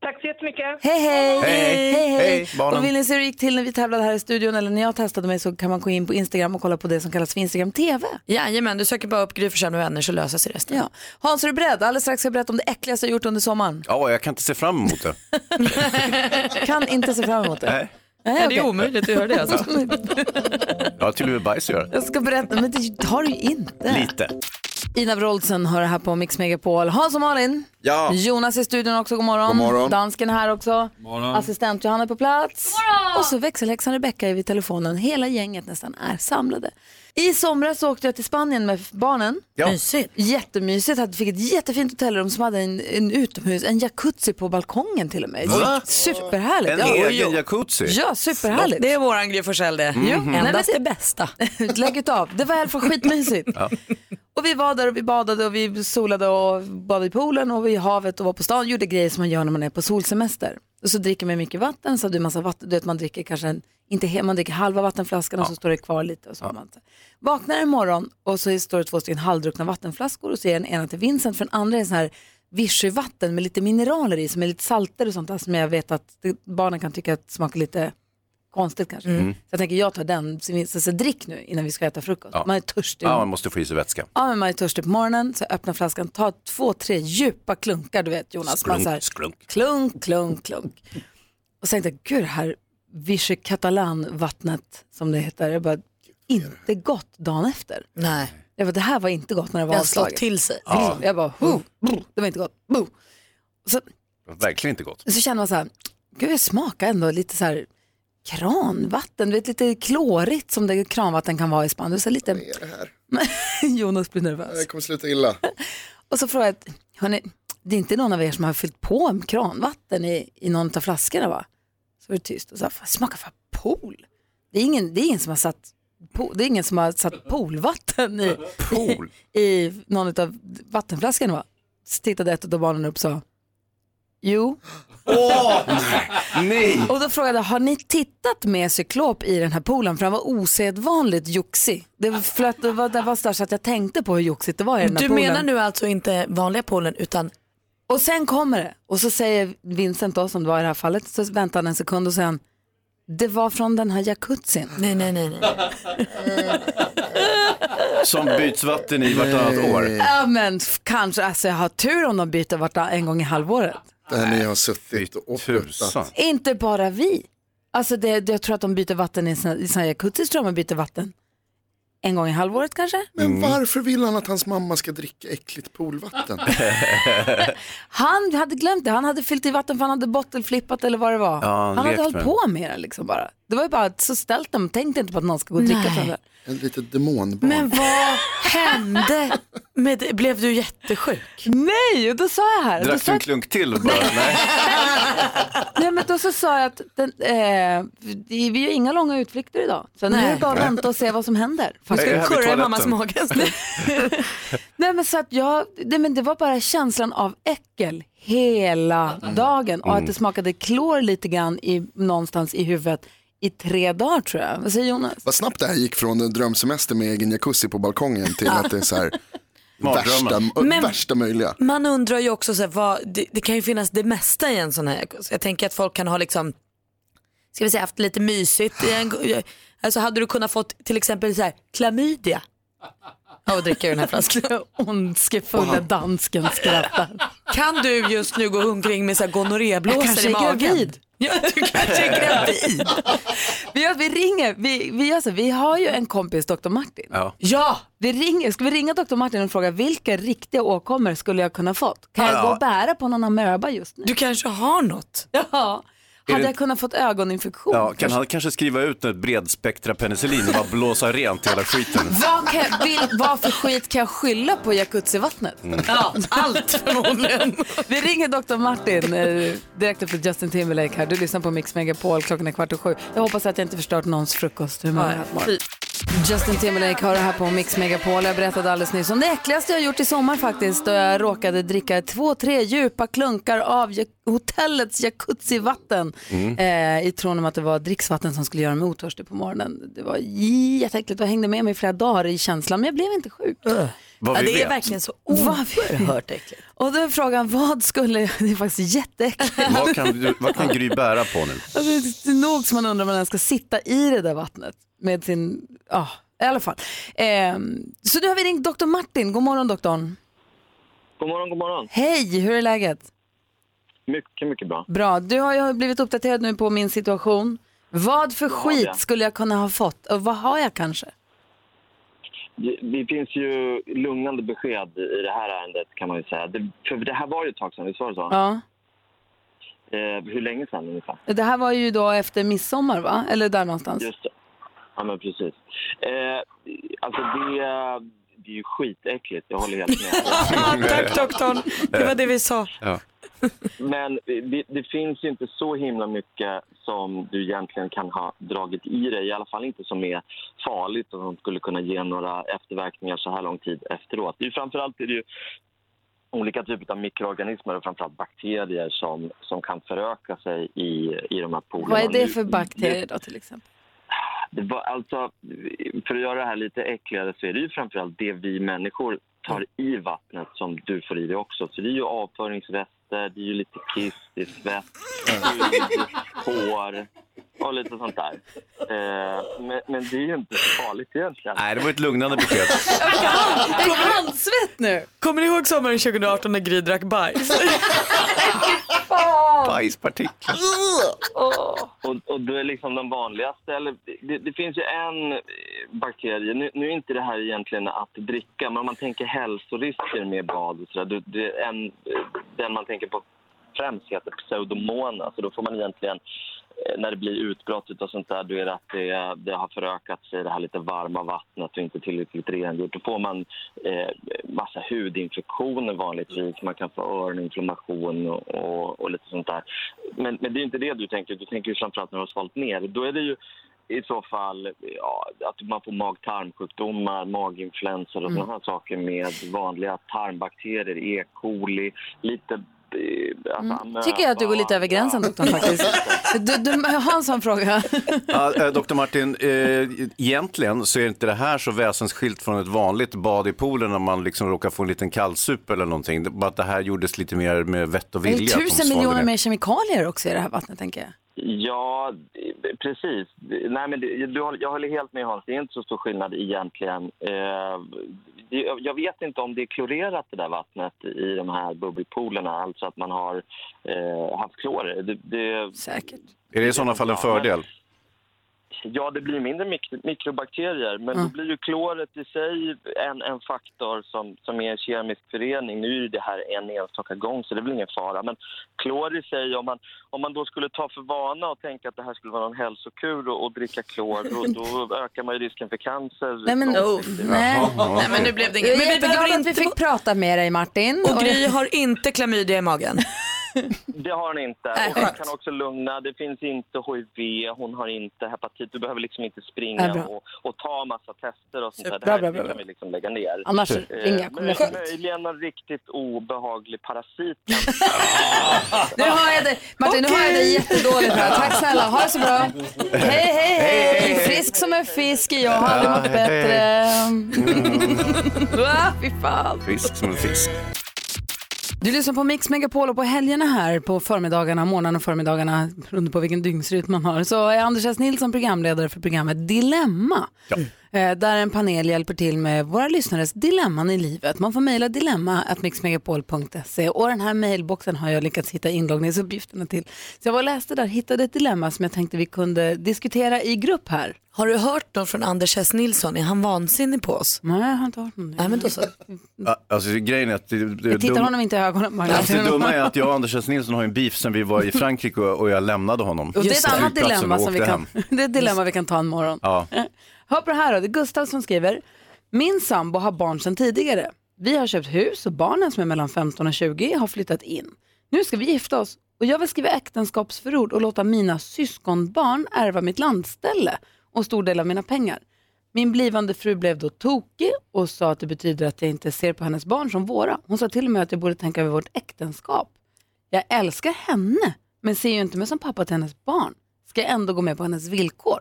Speaker 10: Tack så jättemycket.
Speaker 1: Hej hej!
Speaker 10: Hej.
Speaker 1: hej,
Speaker 10: Hej, barnen.
Speaker 1: Och vill ni se hur det gick till när vi tävlade här i studion eller när jag testade mig så kan man gå in på Instagram och kolla på det som kallas för Instagram TV.
Speaker 3: Jajamän, du söker bara upp Gry Forssell med vänner så löser sig resten.
Speaker 1: Ja. Hans, är du beredd? Alldeles strax ska jag berätta om det äckligaste jag gjort under sommaren.
Speaker 2: Ja, jag kan inte se fram emot det.
Speaker 1: Kan inte se fram emot det.
Speaker 2: Nej.
Speaker 3: Nej, det är
Speaker 1: okej.
Speaker 3: omöjligt att göra det alltså.
Speaker 2: Jag har till och med bajs att göra.
Speaker 1: Jag ska berätta, men det har du ju inte.
Speaker 2: Lite.
Speaker 1: Ina Wroldsen har det här på Mix Megapol. Hans och Malin.
Speaker 2: Ja.
Speaker 1: Jonas i studion också, god morgon.
Speaker 2: God morgon.
Speaker 1: Dansken här också.
Speaker 11: morgon.
Speaker 1: Assistent Johanna är på plats. Och så växelhäxan Rebecka är vid telefonen. Hela gänget nästan är samlade. I somras så åkte jag till Spanien med barnen.
Speaker 3: Ja. Mysigt.
Speaker 1: Jättemysigt. Jag fick ett jättefint hotellrum som hade en, en utomhus, en jacuzzi på balkongen till och med.
Speaker 2: Va?
Speaker 1: Superhärligt.
Speaker 2: En
Speaker 1: Ja.
Speaker 2: egen jacuzzi?
Speaker 1: Ja, superhärligt.
Speaker 3: Det är våran Gry Forssell det.
Speaker 2: Mhm.
Speaker 3: Mm. Endast
Speaker 1: Nej, men
Speaker 3: det bästa.
Speaker 1: Lägg av. Det var i alla fall skitmysigt. Och vi var där och vi badade och vi solade och badade i poolen och i havet och var på stan. Gjorde grejer som man gör när man är på solsemester. Och så dricker man mycket vatten så hade du massa vatten. Du vet man dricker kanske en, inte he, man dricker halva vattenflaskan och så står det kvar lite och så har man inte. Vaknar en morgon och så står det två stycken halvdruckna vattenflaskor och så är den ena till Vincent för den andra är en sån här vichyvatten med lite mineraler i som är lite salter och sånt där som jag vet att det- barnen kan tycka att smakar lite konstigt kanske.
Speaker 2: Mm.
Speaker 1: Så jag tänker jag tar den, så, så, så drick nu innan vi ska äta frukost. Man är törstig.
Speaker 2: Ja, man måste få i sig vätska.
Speaker 1: Ja, men man är törstig på morgonen, så jag öppnar flaskan, tar två, tre djupa klunkar, du vet Jonas. Man
Speaker 2: Skrunk,
Speaker 1: så här,
Speaker 2: skrunk.
Speaker 1: Klunk, klunk, klunk. Och sen tänkte jag, gud det här Vichy Catalan-vattnet som det heter, jag bara, inte gott dagen efter.
Speaker 3: Nej.
Speaker 1: Jag bara, det här var inte gott när det var
Speaker 3: Det har slått
Speaker 1: avslaget.
Speaker 3: till sig.
Speaker 2: Ja.
Speaker 1: Jag bara, ho, brr, det var inte gott. Bo. Så,
Speaker 2: Verkligen inte gott.
Speaker 1: så känner man så här, gud det smakar ändå lite så här kranvatten, du vet lite klorigt som det kranvatten kan vara i Spanien. Så lite... Vad är det här? Jonas blir nervös.
Speaker 7: Det kommer sluta illa.
Speaker 1: Och så frågade jag, hörni, det är inte någon av er som har fyllt på en kranvatten i, i någon av flaskorna va? Så var det tyst och sa, "Fan, smakar fan pool. Det är ingen, det är ingen som har satt po- det är ingen som har satt poolvatten i, i, i någon av vattenflaskorna va? Så tittade ett av barnen upp och sa, Jo.
Speaker 2: Åh! Nej!
Speaker 1: Och då frågade jag, har ni tittat med cyklop i den här poolen? För han var osedvanligt joxig. Det var, för att det var, det var så att jag tänkte på hur joxigt det var i den här
Speaker 3: Du
Speaker 1: poolen.
Speaker 3: menar nu alltså inte vanliga poolen utan
Speaker 1: Och sen kommer det. Och så säger Vincent då, som det var i det här fallet, så väntar han en sekund och sen det var från den här jacuzzin.
Speaker 3: Nej, nej, nej. nej.
Speaker 2: Som byts vatten i vartannat år.
Speaker 1: Ja men f- kanske, alltså jag har tur om de byter vart en gång i halvåret.
Speaker 7: Där ni har suttit och puttat.
Speaker 1: Inte bara vi. Alltså det, det, jag tror att de byter vatten i sina, i sina jacuzzis, tror jag man byter vatten. En gång i halvåret kanske?
Speaker 7: Men varför vill han att hans mamma ska dricka äckligt poolvatten?
Speaker 1: Han hade glömt det, han hade fyllt i vatten för han hade bottenflippat eller vad det var.
Speaker 7: Ja, han
Speaker 1: han hade
Speaker 7: lekt
Speaker 1: hållit
Speaker 7: med
Speaker 1: på med det liksom bara. Det var ju bara så ställt dem, tänkte inte på att någon ska gå och dricka
Speaker 3: Nej.
Speaker 1: från det.
Speaker 7: En litet demonbarn.
Speaker 3: Men vad hände? Med, det? blev du jättesjuk?
Speaker 1: Nej, och då sa jag här. Då
Speaker 2: Drack du
Speaker 1: sa
Speaker 2: en
Speaker 1: jag,
Speaker 2: klunk till bara? Nej.
Speaker 1: nej, men då så sa jag att den, eh, vi vi gör inga långa utflykter idag. Så nu är det bara att
Speaker 2: Nej.
Speaker 1: vänta och se vad som händer.
Speaker 2: Jag ska Jag är här vid kurra i toaletten. mammas
Speaker 3: mage.
Speaker 1: nej, men så att jag, nej, men det var bara känslan av äckel hela
Speaker 2: Mm.
Speaker 1: dagen och att det smakade klor lite grann i, någonstans i huvudet i tre dagar tror jag. Vad säger Jonas?
Speaker 7: Vad snabbt det här gick från en drömsemester med egen jacuzzi på balkongen till att det är så här värsta,
Speaker 3: Mardrömmen. Men-
Speaker 7: värsta möjliga.
Speaker 3: Man undrar ju också, så här, vad, det, det kan ju finnas det mesta i en sån här jacuzzi. Jag tänker att folk kan ha liksom, ska vi säga haft lite mysigt. I en, alltså hade du kunnat fått till exempel så här, klamydia av att dricka ur den här flaskan.
Speaker 1: Ondskefulla dansken skrattar.
Speaker 3: Kan du just nu gå omkring med så här gonorréblåsor i magen? Ja, du kanske är gravid.
Speaker 1: vi, gör- vi ringer, vi, vi, gör så, vi har ju en kompis, Dr. Martin.
Speaker 2: Ja.
Speaker 1: Vi ringer, ska vi ringa Dr. Martin och fråga vilka riktiga åkommor skulle jag kunna fått? Kan jag
Speaker 2: Ja.
Speaker 1: gå och bära på någon amöba just nu?
Speaker 3: Du kanske har något.
Speaker 1: Ja.
Speaker 2: Är
Speaker 1: Hade
Speaker 2: det-
Speaker 1: jag kunnat fått ögoninfektion?
Speaker 2: Ja, kan han Mm. kanske skriva ut ett bredspektra penicillin och bara blåsa rent hela skiten?
Speaker 1: Vad, kan jag, vil, vad för skit kan jag skylla på jacuzzivattnet?
Speaker 2: Mm.
Speaker 3: Ja, allt förmodligen.
Speaker 1: Vi ringer Dr. Martin eh, direkt efter Justin Timberlake här. Du lyssnar på Mix Megapol, klockan är kvart och sju. Jag hoppas att jag inte förstört någons frukost. Hur
Speaker 3: Nej,
Speaker 1: man
Speaker 3: fy.
Speaker 1: Justin Timberlake har det här på Mix Megapol. Jag berättade alldeles nyss om det äckligaste jag har gjort i sommar faktiskt. Då jag råkade dricka två, tre djupa klunkar av ja- hotellets jacuzzivatten.
Speaker 9: Mm.
Speaker 1: Eh, I tron om att det var dricksvatten som skulle göra mig otörstig på morgonen. Det var jätteäckligt och hängde med mig i flera dagar i känslan. Men jag blev inte sjuk.
Speaker 3: Vad Ja, vi det är vet. verkligen så oerhört äckligt.
Speaker 1: Och då är frågan, vad skulle... Det är faktiskt jätteäckligt.
Speaker 2: Vad kan, du- vad kan Gry bära på nu?
Speaker 1: Alltså, det är nog som man undrar om man ens ska sitta i det där vattnet med sin, ja, i alla fall. Ehm, så nu har vi ringt doktor Martin. God morgon doktorn.
Speaker 11: God morgon, god morgon.
Speaker 1: Hej, hur är läget?
Speaker 11: Mycket, mycket bra.
Speaker 1: Bra, du har ju blivit uppdaterad nu på min situation. Vad för skit
Speaker 11: det.
Speaker 1: skulle jag kunna ha fått och vad har jag kanske?
Speaker 11: Det, det finns ju lugnande besked i det här ärendet kan man ju säga. Det, för det här var ju ett tag sedan, visst var det så?
Speaker 1: Ja.
Speaker 11: Eh, hur länge sedan ungefär?
Speaker 1: Det här var ju då efter midsommar va? Eller där någonstans.
Speaker 11: Just det. Ja men precis. Eh, alltså det, det är ju skitäckligt, jag håller helt med.
Speaker 3: Tack doktorn, det var det vi sa.
Speaker 11: Men det, det finns ju inte så himla mycket som du egentligen kan ha dragit i dig, i alla fall inte som är farligt och som skulle kunna ge några efterverkningar så här lång tid efteråt. Det är ju framförallt är det ju olika typer av mikroorganismer och framförallt bakterier som, som kan föröka sig i, i de här poolerna.
Speaker 1: Vad är det
Speaker 11: Nu-
Speaker 1: för bakterier då till exempel?
Speaker 11: det var, alltså, för att göra det här lite äckligare så är det ju framförallt det vi människor tar i vattnet som du får i dig också. Så det är ju avföringsrester, det är ju lite kiss, det är svett, det är lite hår och lite sånt där. Eh, men, men det är ju inte så farligt egentligen.
Speaker 2: Nej, det var ett lugnande besked.
Speaker 1: Det är handsvett nu.
Speaker 3: Kommer ni ihåg sommaren 2018 när Gry drack bajs?
Speaker 2: Bajspartiklar.
Speaker 11: Och, och då är liksom den vanligaste, eller det, det finns ju en eh, bakterie, nu, nu är inte det här egentligen att dricka, men om man tänker hälsorisker med bad och sådär, då- det- en, eh, den man tänker på främst heter pseudomonas, så då får man egentligen eh, när det blir utbrott och sånt där, då är det att det, det har förökat sig i det här lite varma vattnet och inte tillräckligt rengjort. Då får man eh, massa hudinfektioner vanligtvis. Man kan få öroninflammation och, och, och lite sånt där. Men, men det är inte det du tänker. Du tänker ju framförallt när du har svalt ner. Då är det ju i så fall ja, att man får mag-tarmsjukdomar, maginfluensor och
Speaker 12: Mm.
Speaker 11: såna här saker med vanliga tarmbakterier, E. coli, lite Alltså, mm.
Speaker 1: tycker jag att du går lite över gränsen, doktorn, faktiskt. Du, du, Hans har en fråga.
Speaker 2: Ja, eh, Dr. Martin, eh, egentligen så är inte det här så väsensskilt från ett vanligt bad i poolen när man liksom råkar få en liten kallsup eller någonting. Det- Bara att det här gjordes lite mer med vett och
Speaker 1: Det
Speaker 2: vilja.
Speaker 1: är
Speaker 2: att de
Speaker 1: tusen
Speaker 2: svalde
Speaker 1: miljoner
Speaker 2: ner.
Speaker 1: mer kemikalier också i det här vattnet, tänker jag.
Speaker 11: Ja, eh, precis. Nej, men det, du, håller- jag håller helt med Hans, det är inte så stor skillnad egentligen. Eh, det- jag vet inte om det är klorerat det där vattnet i de här bubbelpoolerna, alltså att man har eh, haft klor. Det, det,
Speaker 1: Säkert.
Speaker 2: Är det i sådana fall en fördel?
Speaker 11: Ja, det blir mindre mik- mikrobakterier, men då blir ju kloret i sig en, en faktor som, som är en kemisk förening. Nu är ju det här en enstaka gång, så det är väl ingen fara. Men klor i sig, om man, om man då skulle ta för vana och tänka att det här skulle vara någon hälsokur och, och dricka klor, då, då ökar man ju risken för cancer.
Speaker 1: Nej, men,
Speaker 11: långsiktigt.
Speaker 1: nej.
Speaker 3: Nej, men nu blev det
Speaker 1: Jag
Speaker 3: inget.
Speaker 1: är
Speaker 3: Men vi behöver
Speaker 1: jätteglad att
Speaker 3: inte...
Speaker 1: vi fick prata med dig, Martin.
Speaker 3: Och Gry har inte klamydia i magen.
Speaker 11: Det har hon inte. och jag kan också lugna, det finns inte HIV, hon har inte hepatit. Du behöver liksom inte
Speaker 1: Ja,
Speaker 11: springa
Speaker 1: bra.
Speaker 11: och, och ta massa tester och sånt där. Det
Speaker 1: Bra,
Speaker 11: här
Speaker 1: bra,
Speaker 11: bra,
Speaker 1: bra,
Speaker 11: kan vi liksom lägga ner.
Speaker 1: Annars
Speaker 11: Eh,
Speaker 1: inga kommer
Speaker 11: men-
Speaker 1: skönt.
Speaker 11: Möjligen någon riktigt obehaglig parasit.
Speaker 1: Nu har jag dig, Martin, nu har jag dig jättedåligt här. Tack snälla, ha det så bra. Hej, hej, hej. Frisk som en fisk, jag har aldrig mått bättre. Va? Fy fan.
Speaker 2: Fisk som en fisk.
Speaker 1: Du lyssnar på Mix Megapol och på helgerna här på förmiddagarna, morgonen och förmiddagarna, beroende på vilken dygnsrytm man har, så är Anders S. Nilsson programledare för programmet Dilemma. Eh, Där en panel hjälper till med våra lyssnares dilemman i livet. Man får mejla dilemma.mixmegapol.se och den här mejlboxen har jag lyckats hitta inloggningsuppgifterna till. Så jag var och läste där, hittade ett dilemma som jag tänkte vi kunde diskutera i grupp här.
Speaker 3: Har du hört något från Anders S. Nilsson? Är han vansinnig på oss?
Speaker 1: Nej, jag har inte hört någon.
Speaker 3: Nej, men då så.
Speaker 2: Ja, Alltså grejen är att det, det,
Speaker 1: Jag tittar
Speaker 2: dum-
Speaker 1: honom inte i ögonen. bara.
Speaker 2: Alltså, det dumma är att jag och Anders S. Nilsson har en beef sen vi var i Frankrike och, och jag lämnade honom.
Speaker 1: Och det är ett
Speaker 2: På
Speaker 1: annat
Speaker 2: flygplatsen
Speaker 1: dilemma
Speaker 2: och
Speaker 1: som vi
Speaker 2: åkte
Speaker 1: kan,
Speaker 2: hem.
Speaker 1: det är ett dilemma vi kan ta en morgon.
Speaker 2: Ja.
Speaker 1: Hör på det här då, det är Gustav som skriver. Min sambo har barn sedan tidigare. Vi har köpt hus och barnen som är mellan 15 och 20 har flyttat in. Nu ska vi gifta oss och jag vill skriva äktenskapsförord och låta mina syskonbarn ärva mitt landställe och stor del av mina pengar. Min blivande fru blev då tokig och sa att det betyder att jag inte ser på hennes barn som våra. Hon sa till och med att jag borde tänka över vårt äktenskap. Jag älskar henne, men ser ju inte mig som pappa till hennes barn. Ska jag ändå gå med på hennes villkor?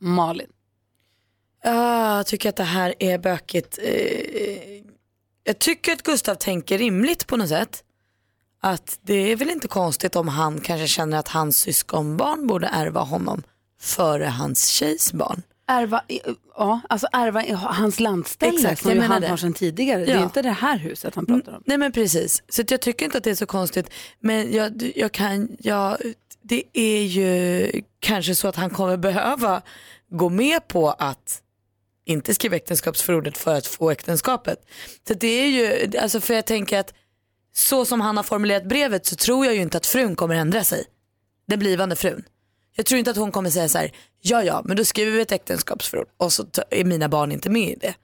Speaker 1: Malin.
Speaker 3: Ah, jag tycker att det här är bökigt. Eh, jag tycker att Gustav tänker rimligt på något sätt. Att det är väl inte konstigt om han kanske känner att hans syskonbarn borde ärva honom före hans tjejs barn.
Speaker 1: Ärva, i- ja, alltså ärva i- hans landställe
Speaker 3: Exakt,
Speaker 1: som
Speaker 3: jag
Speaker 1: ju
Speaker 3: menar
Speaker 1: han
Speaker 3: det.
Speaker 1: har sedan tidigare. Det är
Speaker 3: Ja.
Speaker 1: inte det här huset han pratar om.
Speaker 3: Nej men precis, så att jag tycker inte att det är så konstigt. Men jag, jag kan, jag, det är ju kanske så att han kommer behöva gå med på att inte skriva äktenskapsförordet för att få äktenskapet. Så det är ju, alltså för jag tänker att så som han har formulerat brevet så tror jag ju inte att frun kommer ändra sig. Den blivande frun. Jag tror inte att hon kommer säga så här, ja ja, men då skriver vi ett äktenskapsförord och så ta- är mina barn inte med i det.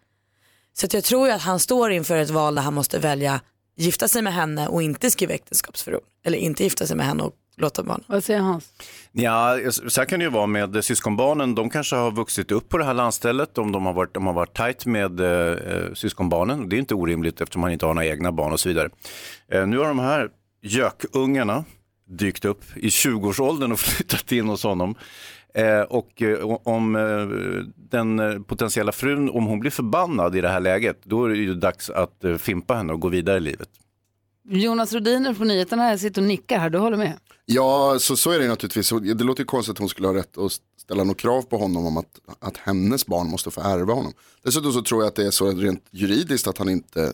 Speaker 3: Så att jag tror ju att han står inför ett val där han måste välja gifta sig med henne och inte skriva äktenskapsförord. Eller inte gifta sig med henne och låta barn.
Speaker 1: Vad säger Hans?
Speaker 2: Ja, så här kan det ju vara med syskonbarnen. De kanske har vuxit upp på det här landstället om de har varit, om de har varit tajt med eh, syskonbarnen. Det är inte orimligt eftersom man inte har några egna barn och så vidare. Eh, nu har de här gökungarna dykt upp i 20-årsåldern och flyttat in hos honom. Eh, och eh, om eh, den eh, potentiella frun, om hon blir förbannad i det här läget, då är det ju dags att eh, fimpa henne och gå vidare i livet.
Speaker 1: Jonas Rodiner på nyheterna jag sitter och nickar här, du håller med?
Speaker 7: Ja, så, så är det ju naturligtvis. Och Det låter ju konstigt att hon skulle ha rätt att ställa något krav på honom om att, att hennes barn måste få ärva honom. Dessutom så tror jag att det är så rent juridiskt att han inte,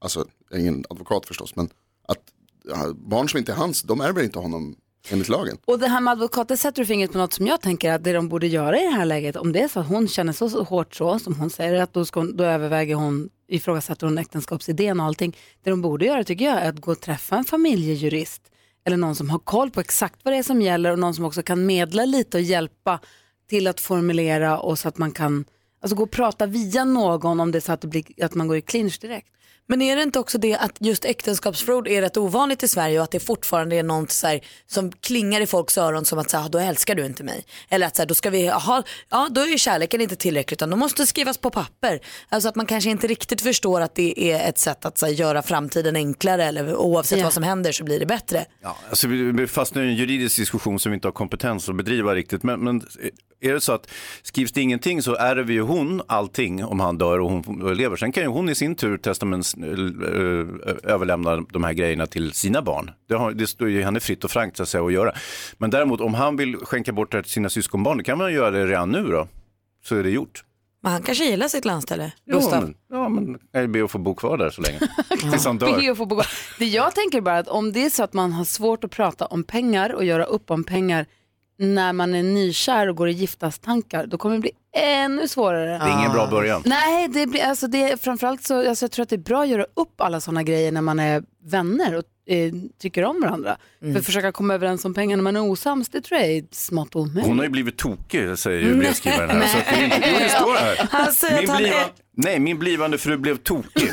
Speaker 7: alltså jag är ingen advokat förstås, men att ja, barn som inte är hans, de ärver inte honom enligt lagen.
Speaker 1: Och det här med advokater sätter du fingret på något som jag tänker att det de borde göra i det här läget, om det är så att hon känner så, så hårt så som hon säger, att då, ska hon, då överväger hon, ifrågasätter hon äktenskapsidén och allting. Det de borde göra tycker jag är att gå och träffa en familjejurist eller någon som har koll på exakt vad det är som gäller och någon som också kan medla lite och hjälpa till att formulera och så att man kan Alltså gå och prata via någon om det är så att, det blir, att man går i clinch direkt.
Speaker 3: Men är det inte också det att just äktenskapsförord är rätt ovanligt i Sverige och att det fortfarande är något så här, som klingar i folks öron som att så här, "Ah, då älskar du inte mig. Eller att så här, då ska vi, aha, ja då är ju kärleken inte tillräcklig utan då måste det skrivas på papper. Alltså att man kanske inte riktigt förstår att det är ett sätt att så här, göra framtiden enklare eller oavsett vad som händer så blir det bättre.
Speaker 2: Ja, alltså vi vi fastnar i en juridisk diskussion som vi inte har kompetens att bedriva riktigt. Men, men eh, är det så att skrivs det ingenting så ärver ju hon allting om han dör och hon lever. Sen kan ju hon i sin tur testaments, eh, överlämna de här grejerna till sina barn. Det, har, det står ju henne fritt och frankt så att, säga, att göra. Men däremot om han vill skänka bort det här till sina syskonbarn, då kan man göra det redan nu då. Så är det gjort.
Speaker 3: Men han kanske gillar sitt landställe,
Speaker 2: Jo,
Speaker 3: Gustav.
Speaker 2: men- ja, men jag ber att få bo kvar där så länge. Tills han dör.
Speaker 1: Be att få bo kvar. Det Mm. jag tänker bara att om det är så att man har svårt att prata om pengar och göra upp om pengar när man är nykär och går i giftastankar, då kommer det bli ännu svårare.
Speaker 2: Det är ingen bra början.
Speaker 1: Nej, det blir, alltså det är framförallt så, alltså jag tror att det är bra att göra upp alla sådana grejer när man är vänner och eh, tycker om varandra.
Speaker 2: Mm.
Speaker 1: För att försöka komma överens om pengar när man är osams, det tror jag är smått omöjligt.
Speaker 2: Hon har ju blivit tokig, säger ju brevskrivaren här. Så att det, är inte, jo, det står här.
Speaker 1: Han säger Mm. att han
Speaker 2: bliva-
Speaker 1: är-
Speaker 2: Nej, min blivande fru blev tokig.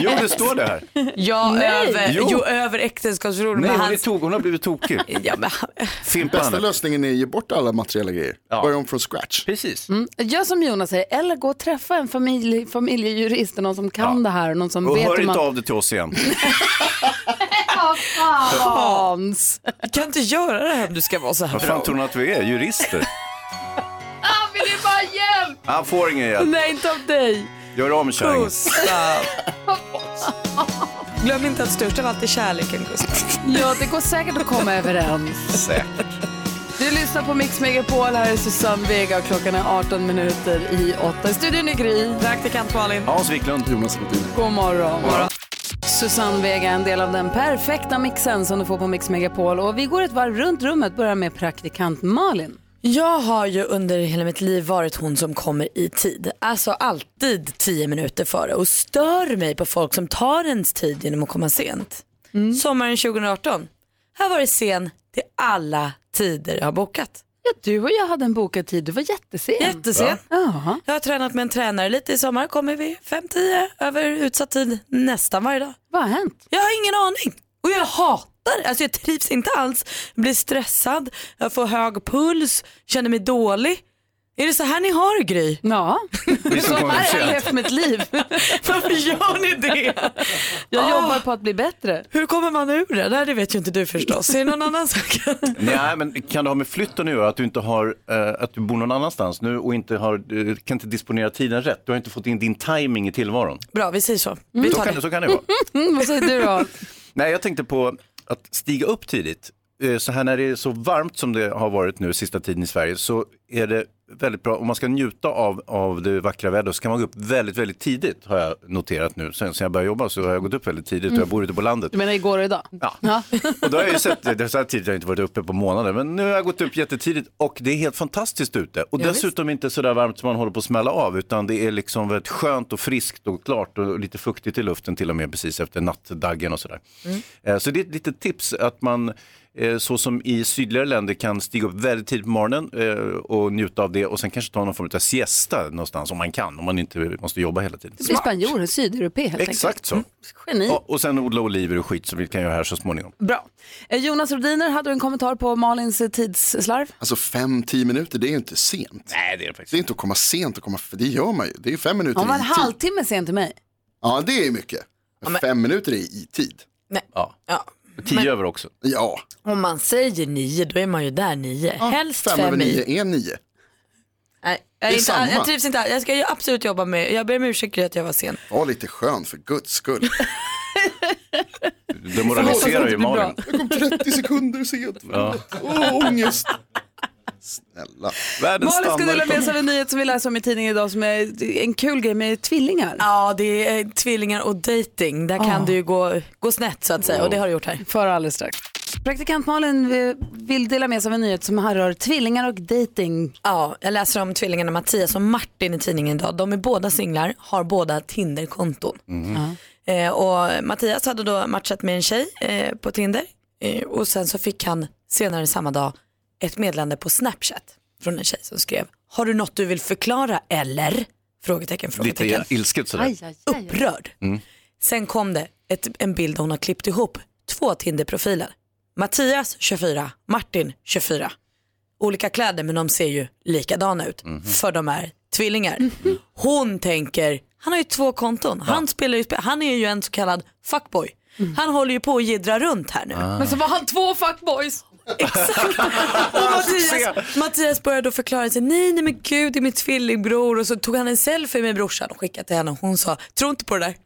Speaker 2: Jo, det står det här.
Speaker 3: Ja,
Speaker 2: Nej.
Speaker 3: över,
Speaker 2: Jo.
Speaker 3: jo. över äktenskapsförord.
Speaker 2: Nej,
Speaker 3: men
Speaker 2: hon,
Speaker 3: han-
Speaker 2: är tok, hon har blivit tokig.
Speaker 3: ja, men...
Speaker 7: Bästa lösningen är att ge bort alla materiella grejer. Börja om från scratch.
Speaker 2: Precis.
Speaker 1: Mm. Gör som Jonas säger, eller gå och träffa en familj, familjejurist, någon som kan det här och någon som
Speaker 2: Och
Speaker 1: vet
Speaker 2: hör
Speaker 1: hur
Speaker 2: inte
Speaker 1: man...
Speaker 2: av det till oss igen.
Speaker 1: Hans!
Speaker 3: Jag kan inte göra det här om du ska vara så här
Speaker 2: Vad fan tror hon att vi är? Jurister?
Speaker 1: Han vill ju bara hjälp!
Speaker 2: Han får ingen hjälp.
Speaker 1: Nej, inte av dig.
Speaker 2: Gör om kärring.
Speaker 3: Glöm inte att störst av allt är kärleken, Gustav.
Speaker 1: Ja, det går säkert att komma överens.
Speaker 2: Säkert.
Speaker 1: Du lyssnar på Mix Megapol, här är Susanne Vega och klockan är 18 minuter i 8. Studion är Gry.
Speaker 3: Praktikant Malin.
Speaker 2: Hans Wiklund.
Speaker 7: Jonas Martin.
Speaker 1: God morgon. Susanne Vega är en del av den perfekta mixen som du får på Mix Megapol. Och vi går ett varv runt rummet, börjar med praktikant Malin.
Speaker 3: Jag har ju under hela mitt liv varit hon som kommer i tid. Alltså alltid tio minuter före och stör mig på folk som tar ens tid genom att komma sent. Sommaren 2018, här var det sen till alla tider jag har bokat.
Speaker 1: Ja, du och jag hade en bokad tid, du var jättesen.
Speaker 3: Jättesen.
Speaker 1: Ja.
Speaker 3: Jag har tränat med en tränare lite i sommar, kommer vi 5-10 över utsatt tid nästan varje dag.
Speaker 1: Vad har hänt?
Speaker 3: Jag har ingen aning och jag hatar Alltså jag trivs inte alls. Jag blir stressad, jag får hög puls, känner mig dålig. Är det så här ni har det, Gry?
Speaker 1: Ja.
Speaker 3: Vi
Speaker 1: Så här har jag levt mitt liv.
Speaker 3: Varför gör ni det?
Speaker 1: Jag
Speaker 3: Ah.
Speaker 1: jobbar på att bli bättre.
Speaker 3: Hur kommer man ur det? Nej, det vet ju inte du förstås. Är det någon annan sak?
Speaker 2: Nej, men kan det ha med flytten att göra? Att du, inte har, eh, att du bor någon annanstans nu och inte har, eh, kan inte disponera tiden rätt? Du har inte fått in din timing i tillvaron.
Speaker 3: Bra, vi säger så. Vi
Speaker 2: Så
Speaker 3: tar
Speaker 2: kan det- så kan det vara.
Speaker 1: Vad säger du då?
Speaker 2: Nej, jag tänkte på att stiga upp tidigt. Eh, Så här när det är så varmt som det har varit nu sista tiden i Sverige så är det väldigt bra, om man ska njuta av, av det vackra vädret så kan man gå upp väldigt, väldigt tidigt har jag noterat nu. Sen, sen jag började jobba så har jag gått upp väldigt tidigt och jag bor ute på landet.
Speaker 1: Du menar igår och idag? Ja.
Speaker 2: Och då har jag ju sett, det så här tidigt har jag inte varit uppe på månader, men nu har jag gått upp jättetidigt och det är helt fantastiskt ute. Och
Speaker 1: Ja,
Speaker 2: dessutom inte så där varmt som man håller på att smälla av, utan det är liksom väldigt skönt och friskt och klart och lite fuktigt i luften till och med precis efter nattdaggen och sådär.
Speaker 1: Mm.
Speaker 2: Eh, Så det är ett litet tips att man, eh, så som i sydligare länder, kan stiga upp väldigt tidigt på morgonen eh, och njuta av det och sen kanske ta någon form av siesta någonstans om man kan, om man inte måste jobba hela tiden.
Speaker 1: Du blir spanjor, sydeuropé helt
Speaker 2: Exakt så.
Speaker 1: enkelt. Mm, Geni.
Speaker 2: Och, och sen odla oliver och skit som vi kan göra här så småningom.
Speaker 1: Bra. Eh, Jonas Rodiner, hade du en kommentar på Malins eh, tidsslarv?
Speaker 7: Alltså fem, tio minuter, det är ju inte sent.
Speaker 2: Nej, det är det faktiskt.
Speaker 7: Det är inte att komma sent och komma, för det gör man ju. Det är ju fem minuter
Speaker 1: Hon var
Speaker 7: i
Speaker 1: en
Speaker 7: tid.
Speaker 1: halvtimme sen till mig.
Speaker 7: Ja, det är mycket. Men Fem minuter är i tid.
Speaker 3: Nej.
Speaker 2: Ja.
Speaker 3: Ja.
Speaker 2: Tio över också.
Speaker 7: Ja.
Speaker 3: Om man säger nio, då är man ju där nio. Helst fem,
Speaker 7: fem över
Speaker 3: i.
Speaker 7: nio är nio.
Speaker 3: Nej,
Speaker 7: Det är
Speaker 3: jag, är inte,
Speaker 7: samma.
Speaker 3: jag trivs inte alls. Jag ska ju absolut jobba med, jag ber om ursäkt för att jag var sen.
Speaker 7: Var lite skön för guds skull.
Speaker 2: Det moraliserar ju Malin.
Speaker 7: Jag kom 30 sekunder sent.
Speaker 2: Ja.
Speaker 7: Åh, ångest. Snälla.
Speaker 1: Malin ska dela med sig av en nyhet som vi läser om i tidningen idag som är eh, en kul grej med tvillingar.
Speaker 3: Ja, det är tvillingar och dating. Där kan det ju gå, gå snett så att säga och det har det gjort här.
Speaker 1: För alldeles strax. Praktikant Malin eh, vill dela med sig av en nyhet som här rör tvillingar och dating.
Speaker 3: Ja, jag läser om tvillingarna Mattias och Martin i tidningen idag. De är båda singlar, har båda Tinder-konton. Eh, och Mattias hade då matchat med en tjej eh, på Tinder eh, och sen så fick han senare samma dag ett meddelande på Snapchat från en tjej som skrev Har du något du vill förklara eller? Frågetecken, frågetecken.
Speaker 2: Lite ilsket sådär.
Speaker 3: Upprörd. Sen kom det ett, en bild där hon har klippt ihop två Tinder-profiler. Mattias 24, Martin 24. Olika kläder men de ser ju likadana ut för de är tvillingar. Hon tänker, han har ju två konton. Han, spelar ju, spe- han är ju en så kallad fuckboy. Han håller ju på att jiddra runt här nu.
Speaker 1: Men så var han två fuckboys.
Speaker 3: Och Mattias, Mattias började då förklara sig, nej nej men gud det är min tvillingbror och så tog han en selfie med brorsan och skickade till henne och hon sa, tror inte på det där.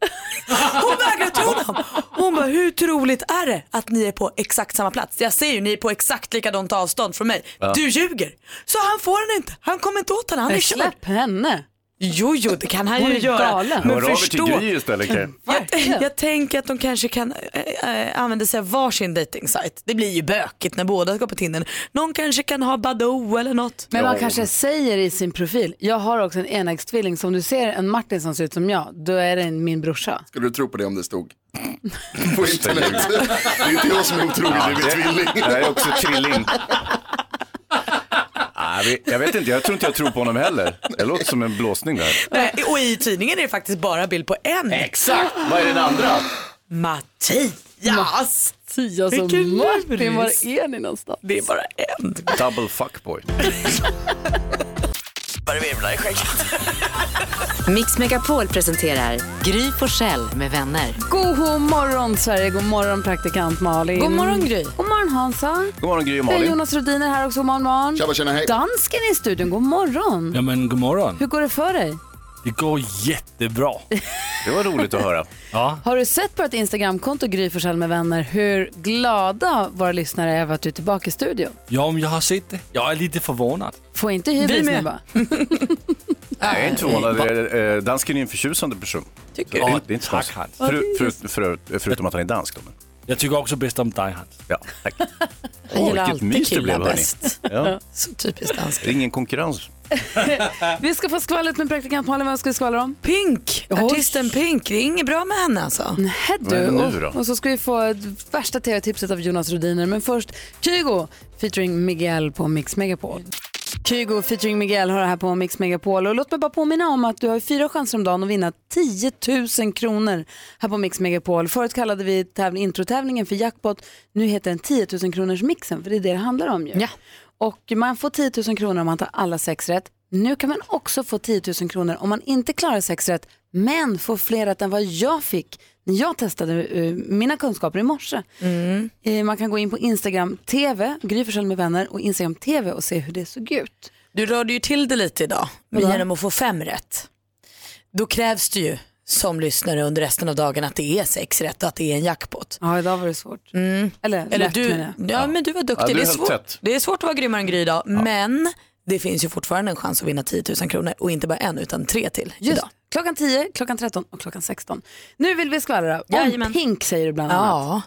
Speaker 3: Hon vägrade tro honom. Hon bara, hur troligt är det att ni är på exakt samma plats? Jag ser ju, ni är på exakt likadant avstånd från mig.
Speaker 1: Ja.
Speaker 3: Du ljuger. Så han får henne inte, han kommer inte åt henne, han är
Speaker 1: Nej,
Speaker 3: körd.
Speaker 1: släpp henne.
Speaker 3: Jo, jo, det kan han
Speaker 1: Hon
Speaker 3: ju
Speaker 1: är
Speaker 3: göra.
Speaker 1: galen.
Speaker 3: Men
Speaker 2: Hör av er
Speaker 3: förstå-
Speaker 2: till Gry istället, Kaj.
Speaker 3: jag, jag tänker att de kanske kan äh, äh, använda sig av varsin dejtingsajt. Det blir ju bökigt när båda ska på Tinder. Någon kanske kan ha Badoo eller något.
Speaker 1: Men man kanske säger i sin profil, jag har också en enäggstvilling, som du ser en Martin som ser ut som jag, då är det en- min brorsa.
Speaker 7: Skulle du tro på det om det stod på internet? Det är inte jag som är otrolig,
Speaker 2: Ja,
Speaker 7: det är min tvilling.
Speaker 2: Jag är också trilling. Nej, vi- jag vet inte, jag tror inte jag tror på honom heller. Det låter som en blåsning där.
Speaker 3: Nej, Eh, och i tidningen är det faktiskt bara bild på en.
Speaker 2: Exakt. Vad är den andra?
Speaker 3: Mattias!
Speaker 1: Mattias och
Speaker 3: Vilken
Speaker 1: Martin,
Speaker 3: luris.
Speaker 1: var är ni någonstans?
Speaker 3: Det är bara en.
Speaker 2: Double fuckboy.
Speaker 3: Bara virvlar i skägget.
Speaker 9: Mix Megapol presenterar Gry Forssell med vänner.
Speaker 1: God morgon Sverige, god morgon praktikant Malin.
Speaker 9: God morgon,
Speaker 1: Gry. God morgon Hansa.
Speaker 2: God morgon Gry och
Speaker 1: Hej
Speaker 12: Malin.
Speaker 1: Jonas Rhodiner här också, god morgon. morgon.
Speaker 12: Tjabba, tjena, hej.
Speaker 1: Dansken i studion, god morgon.
Speaker 12: Ja men god morgon.
Speaker 1: Hur går det för dig?
Speaker 12: Det går jättebra.
Speaker 2: Det var roligt att höra.
Speaker 12: Ja.
Speaker 1: Har du sett på ett Instagramkonto, Gry Forssell med vänner, hur glada våra lyssnare är över att du är tillbaka i studion?
Speaker 12: ja, men jag har sett det. Jag är lite förvånad.
Speaker 1: Får inte
Speaker 12: Vi
Speaker 1: hybris
Speaker 12: med.
Speaker 1: nu bara.
Speaker 2: Nej, jag är inte förvånad. Eh, eh, Dansken är en förtjusande person. Tycker
Speaker 12: du?
Speaker 2: Det, det är inte så
Speaker 12: Tack,
Speaker 2: konstigt. Förut- förut- förut- Förutom att han är dansk. Då. men-
Speaker 12: Jag tycker också bäst om dig Hans.
Speaker 2: Ja, tack.
Speaker 3: Han
Speaker 2: Åh,
Speaker 3: gillar
Speaker 2: vilket
Speaker 3: alltid
Speaker 2: mys det
Speaker 3: killar
Speaker 2: blev, hörni.
Speaker 3: bäst.
Speaker 2: Ja.
Speaker 3: Så typiskt dansk.
Speaker 2: Det är ingen konkurrens.
Speaker 1: Vi ska få skvallret med praktikant Malin. Vad ska vi skvallra om?
Speaker 3: Pink! Artisten Pink. Det är inget bra med henne alltså.
Speaker 1: Nej
Speaker 3: Vad
Speaker 1: du.
Speaker 3: är det nu
Speaker 1: Och,
Speaker 3: då?
Speaker 1: och så ska vi få ett värsta tv-tipset av Jonas Rhodiner. Men först Kygo featuring Miguel på Mix Megapol. Kygo featuring Miguel har det här på Mix Megapol. Och låt mig bara påminna om att du har fyra chanser om dagen att vinna 10 000 kronor här på Mix Megapol. Förut kallade vi tävling, introtävlingen för jackpot. Nu heter den 10 000 kronors mixen för det är det det handlar om ju. Och man får 10 000 kronor om man tar alla sex rätt. Nu kan man också få 10 000 kronor om man inte klarar sex rätt men får fler rätt än vad jag fick när jag testade eh, mina kunskaper i morse. Eh, man kan gå in på Instagram TV, Gry Forssell med vänner och Instagram TV och se hur det såg ut.
Speaker 3: Du rörde ju till det lite idag
Speaker 1: Vadå?
Speaker 3: genom att få fem rätt. Då krävs det ju som lyssnare under resten av dagen att det är sex rätt och att det är en jackpot.
Speaker 1: Ja, idag var det svårt. Mm. Eller,
Speaker 3: Eller
Speaker 1: lätt, menar
Speaker 3: du,
Speaker 1: jag.
Speaker 3: ja, men du var duktig.
Speaker 1: Ja, du
Speaker 3: det, är
Speaker 1: höll
Speaker 3: svårt,
Speaker 1: tätt.
Speaker 3: det är svårt att vara grymmare än Gry idag, men det finns ju fortfarande en chans att vinna 10 000 kronor och inte bara en utan tre till
Speaker 1: Just.
Speaker 3: idag.
Speaker 1: Klockan 10, klockan 13 och klockan 16. Nu vill vi skvallra om
Speaker 3: Jajamän.
Speaker 1: Pink säger du bland
Speaker 3: Ja.
Speaker 1: annat.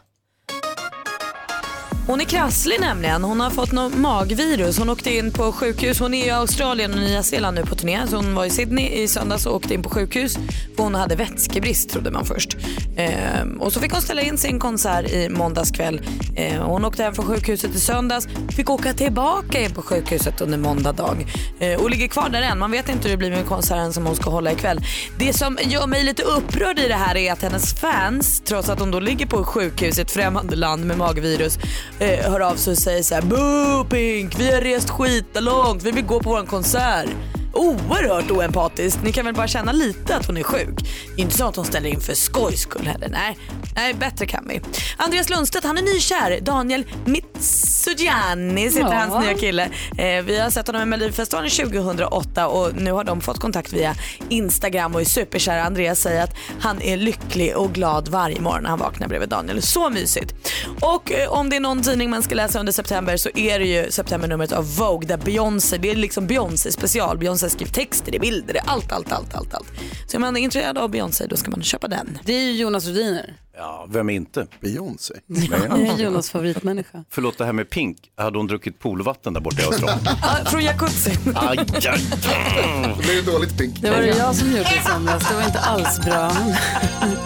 Speaker 3: Hon är krasslig nämligen. Hon har fått något magvirus. Hon åkte in på sjukhus. Hon är i Australien och Nya Zeeland nu på turné. Så hon var i Sydney i söndags och åkte in på sjukhus. För hon hade vätskebrist trodde man först. Ehm, och så fick hon ställa in sin konsert i måndags kväll. Ehm, hon åkte hem från sjukhuset i söndags. Fick åka tillbaka in på sjukhuset under måndag dag. Ehm, och ligger kvar där än. Man vet inte hur det blir med konserten som hon ska hålla ikväll. Det som gör mig lite upprörd i det här är att hennes fans, trots att hon då ligger på sjukhus i ett främmande land med magvirus, eh, hör av sig och säger så här: Boo Pink, vi har rest skitlångt, vi vill gå på vår konsert. Oerhört oempatiskt. Ni kan väl bara känna lite att hon är sjuk. Inte så att hon ställer in för skojs skull heller. Nej, nej bättre kan vi. Andreas Lundstedt han är nykär. Daniel Mitsugiani heter
Speaker 1: Ja.
Speaker 3: hans nya kille. Eh, vi har sett honom i Melodifestivalen 2008 och nu har de fått kontakt via Instagram och är superkära. Andreas säger att han är lycklig och glad varje morgon när han vaknar bredvid Daniel. Så mysigt. Och eh, om det är någon tidning man ska läsa under september så är det ju septembernumret av Vogue där Beyoncé, det är liksom Beyoncé special. Beyoncé har skrivit texter, det är bilder, det är allt, allt, allt, allt, allt. Så är man intresserad av Beyoncé då ska man köpa den.
Speaker 1: Det är ju Jonas Rhodiner.
Speaker 2: Ja, vem är inte? Beyoncé.
Speaker 1: Det är Jonas favoritmänniska.
Speaker 2: Förlåt, det här med Pink. Hade hon druckit poolvatten där borta i Australien?
Speaker 3: Ah, från jacuzzi.
Speaker 2: aj, aj, aj.
Speaker 7: Det är dåligt Pink.
Speaker 1: Det var det jag som gjorde i somras. Det var inte alls bra.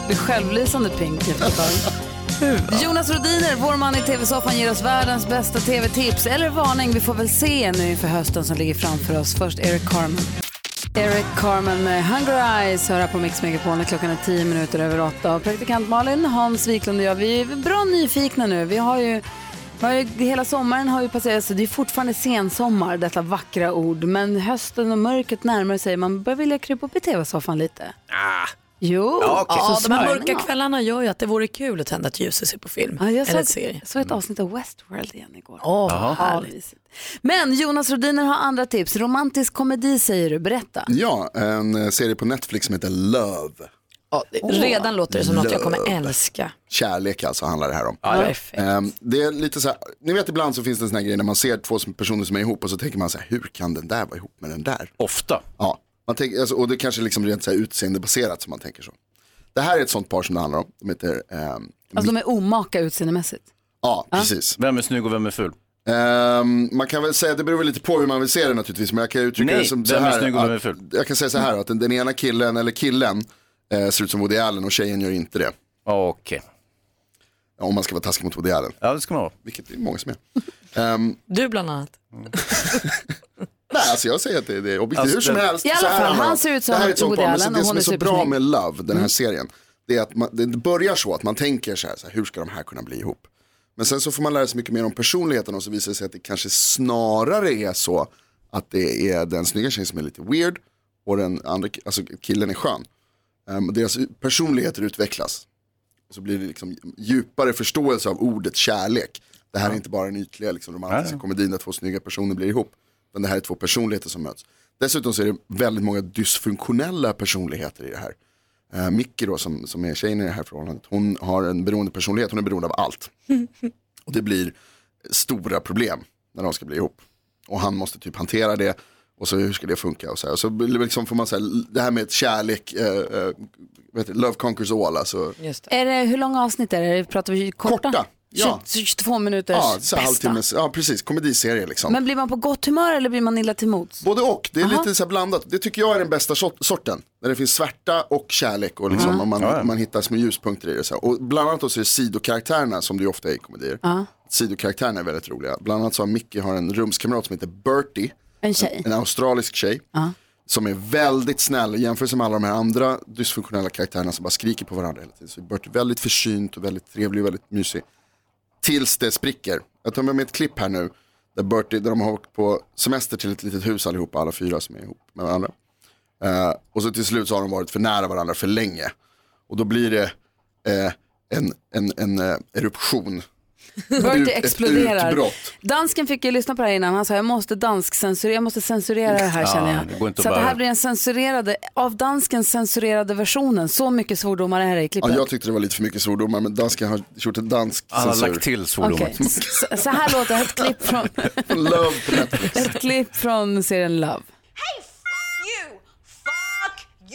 Speaker 1: Det är självlysande pink efter ett tag. Jonas Rodiner, vår man i tv-soffan, ger oss världens bästa tv-tips. Eller varning, vi får väl se nu inför hösten som ligger framför oss. Först Eric Carmen. Eric Carmen med Hunger Eyes hör här på Mix Megapol när klockan är 10 minuter över 8. Och praktikant Malin, Hans Wiklund och jag, vi är bra nyfikna nu. Vi har ju, vi har ju hela sommaren har ju passerat, så det är fortfarande sensommar, detta vackra ord. Men hösten och mörkret närmar sig, man börjar vilja krypa upp i tv-soffan lite.
Speaker 3: Ah.
Speaker 1: Jo,
Speaker 3: Ja,
Speaker 1: så
Speaker 3: de här
Speaker 1: småningom.
Speaker 3: mörka kvällarna gör ju att det vore kul att tända ett ljus och se på film.
Speaker 1: Ja, jag
Speaker 3: eller
Speaker 1: såg,
Speaker 3: en serie.
Speaker 1: såg ett avsnitt av Westworld igen igår.
Speaker 3: Åh, vad
Speaker 1: Ja,
Speaker 3: härligt.
Speaker 1: mysigt. Men Jonas Rodiner har andra tips. Romantisk komedi säger du, berätta.
Speaker 7: Ja, en eh, serie på Netflix som heter Love.
Speaker 3: Redan låter det som något jag kommer
Speaker 7: Love.
Speaker 3: älska.
Speaker 7: Kärlek alltså handlar det här om.
Speaker 3: Ja, perfekt.
Speaker 7: Ehm, det är lite så här, ni vet ibland så finns det en sån här grej när man ser två som- personer som är ihop och så tänker man så här, hur kan den där vara ihop med den där?
Speaker 2: Ofta.
Speaker 7: Ja, man tänker, alltså, och det kanske liksom rent så här utseendebaserat som man tänker så. Det här är ett sånt par som det handlar om, de heter, ehm,
Speaker 1: Alltså de är omaka utseendemässigt.
Speaker 7: ja precis.
Speaker 2: Vem är snygg och vem är ful?
Speaker 7: Ehm, man kan väl säga, det beror väl lite på hur man vill se det naturligtvis, men jag kan uttrycka
Speaker 2: Nej,
Speaker 7: det som så
Speaker 2: vem är
Speaker 7: här.
Speaker 2: snygg och vem
Speaker 7: att-
Speaker 2: är ful?
Speaker 7: Jag kan säga så här att den, den ena killen eller killen eh, ser ut som Woody Allen och tjejen gör inte det.
Speaker 2: Okej.
Speaker 7: Om man ska vara taskig mot Woody Allen.
Speaker 2: Ja det ska man vara.
Speaker 7: Vilket det är många som är. Ehm,
Speaker 3: Du bland annat.
Speaker 7: Nej, alltså jag säger att det, det är objektivt.
Speaker 3: Alltså,
Speaker 7: Hur som
Speaker 3: det-
Speaker 7: helst.
Speaker 3: I alla
Speaker 7: så här
Speaker 3: fall,
Speaker 7: handlar det
Speaker 3: han
Speaker 7: om.
Speaker 3: ser ut som
Speaker 7: det här är ett sånt
Speaker 3: Woody
Speaker 7: par, men
Speaker 3: Allen
Speaker 7: så Det
Speaker 3: och
Speaker 7: som
Speaker 3: hon
Speaker 7: är
Speaker 3: är
Speaker 7: så bra
Speaker 3: supersnygg.
Speaker 7: med Love, den här
Speaker 3: Mm.
Speaker 7: serien, det är att man, det börjar så att man tänker så här, så här, hur ska de här kunna bli ihop? Men sen så får man lära sig mycket mer om personligheten och så visar det sig att det kanske snarare är så att det är den snygga tjejen som är lite weird och den andra ki- alltså killen är skön. Ehm, och deras personligheter utvecklas. Och så blir det liksom djupare förståelse av ordet kärlek. Det här är inte bara den ytliga liksom, romantiska
Speaker 2: Nej.
Speaker 7: komedin där två snygga personer blir ihop. Men det här är två personligheter som möts. Dessutom så är det väldigt många dysfunktionella personligheter i det här. Uh, Micke då som, som är tjejen i det här förhållandet, hon har en beroende personlighet, hon är beroende av allt. Och det blir stora problem när de ska bli ihop. Och han måste typ hantera det. Och så hur ska det funka och så här. Och så blir det liksom får man säga, det här med ett kärlek, eh, eh, vet du, love conquers all alltså.
Speaker 1: Är det, hur långa avsnitt är det? Pratar vi korta? Korta,
Speaker 7: ja.
Speaker 1: 22 minuters
Speaker 7: Ja, så här
Speaker 1: bästa.
Speaker 7: halvtimmes, ja precis, komediserie liksom.
Speaker 1: Men blir man på gott humör eller blir man illa till mots?
Speaker 7: Både och, det är
Speaker 1: Aha.
Speaker 7: lite så här blandat. Det tycker jag är den bästa sort- sorten. När det finns svärta och kärlek och liksom,
Speaker 1: Mm.
Speaker 7: och man,
Speaker 1: Ja, ja.
Speaker 7: man hittar små ljuspunkter i det. Så här. Och bland annat då så är det sidokaraktärerna som det ju ofta är i komedier.
Speaker 1: Ja.
Speaker 7: Sidokaraktärerna är väldigt roliga. Bland annat så har Mickey har en rumskamrat som heter Bertie.
Speaker 1: En tjej.
Speaker 7: En australisk tjej. Som är väldigt snäll jämfört med alla de här andra dysfunktionella karaktärerna som bara skriker på varandra hela tiden. Så Bertie är väldigt försynt och väldigt trevlig och väldigt mysig. Tills det spricker. Jag tar med mig ett klipp här nu. Där Bertie, där de har åkt på semester till ett litet hus allihopa, alla fyra som är ihop med varandra. Eh, och så till slut så har de varit för nära varandra för länge. Och då blir det eh, en, en, en eh, eruption. Ut-
Speaker 1: Bertie
Speaker 7: ett
Speaker 1: exploderar.
Speaker 7: utbrott.
Speaker 1: Dansken fick ju lyssna på det här innan. Han sa jag måste danskcensurera, jag måste censurera det här
Speaker 7: Ja,
Speaker 1: känner jag.
Speaker 7: det går inte
Speaker 1: så
Speaker 7: att
Speaker 1: att det här
Speaker 7: bära.
Speaker 1: blir en censurerade, av dansken censurerade versionen. Så mycket svordomar är det i
Speaker 7: Ja,
Speaker 1: klippet.
Speaker 7: jag tyckte det var lite för mycket svordomar men dansken har gjort en dansk
Speaker 2: Han har
Speaker 7: censur.
Speaker 2: lagt till
Speaker 1: Okej, så, så här låter ett klipp från,
Speaker 7: Love på
Speaker 1: ett klipp från serien Love.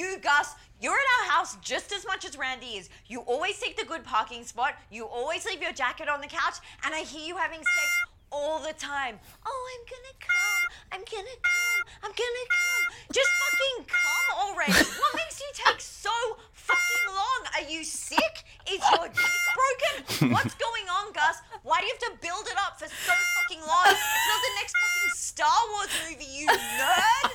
Speaker 13: You, Gus, you're in our house just as much as Randy is. You always take the good parking spot. You always leave your jacket on the couch. And I hear you having sex all the time. Oh, I'm gonna come. I'm gonna come. I'm gonna come. Just fucking come already. What makes you take so fucking long? Are you sick? Is your dick broken? What's going on, Gus? Why do you have to build it up for so fucking long? It's not the next fucking Star Wars movie, you nerd.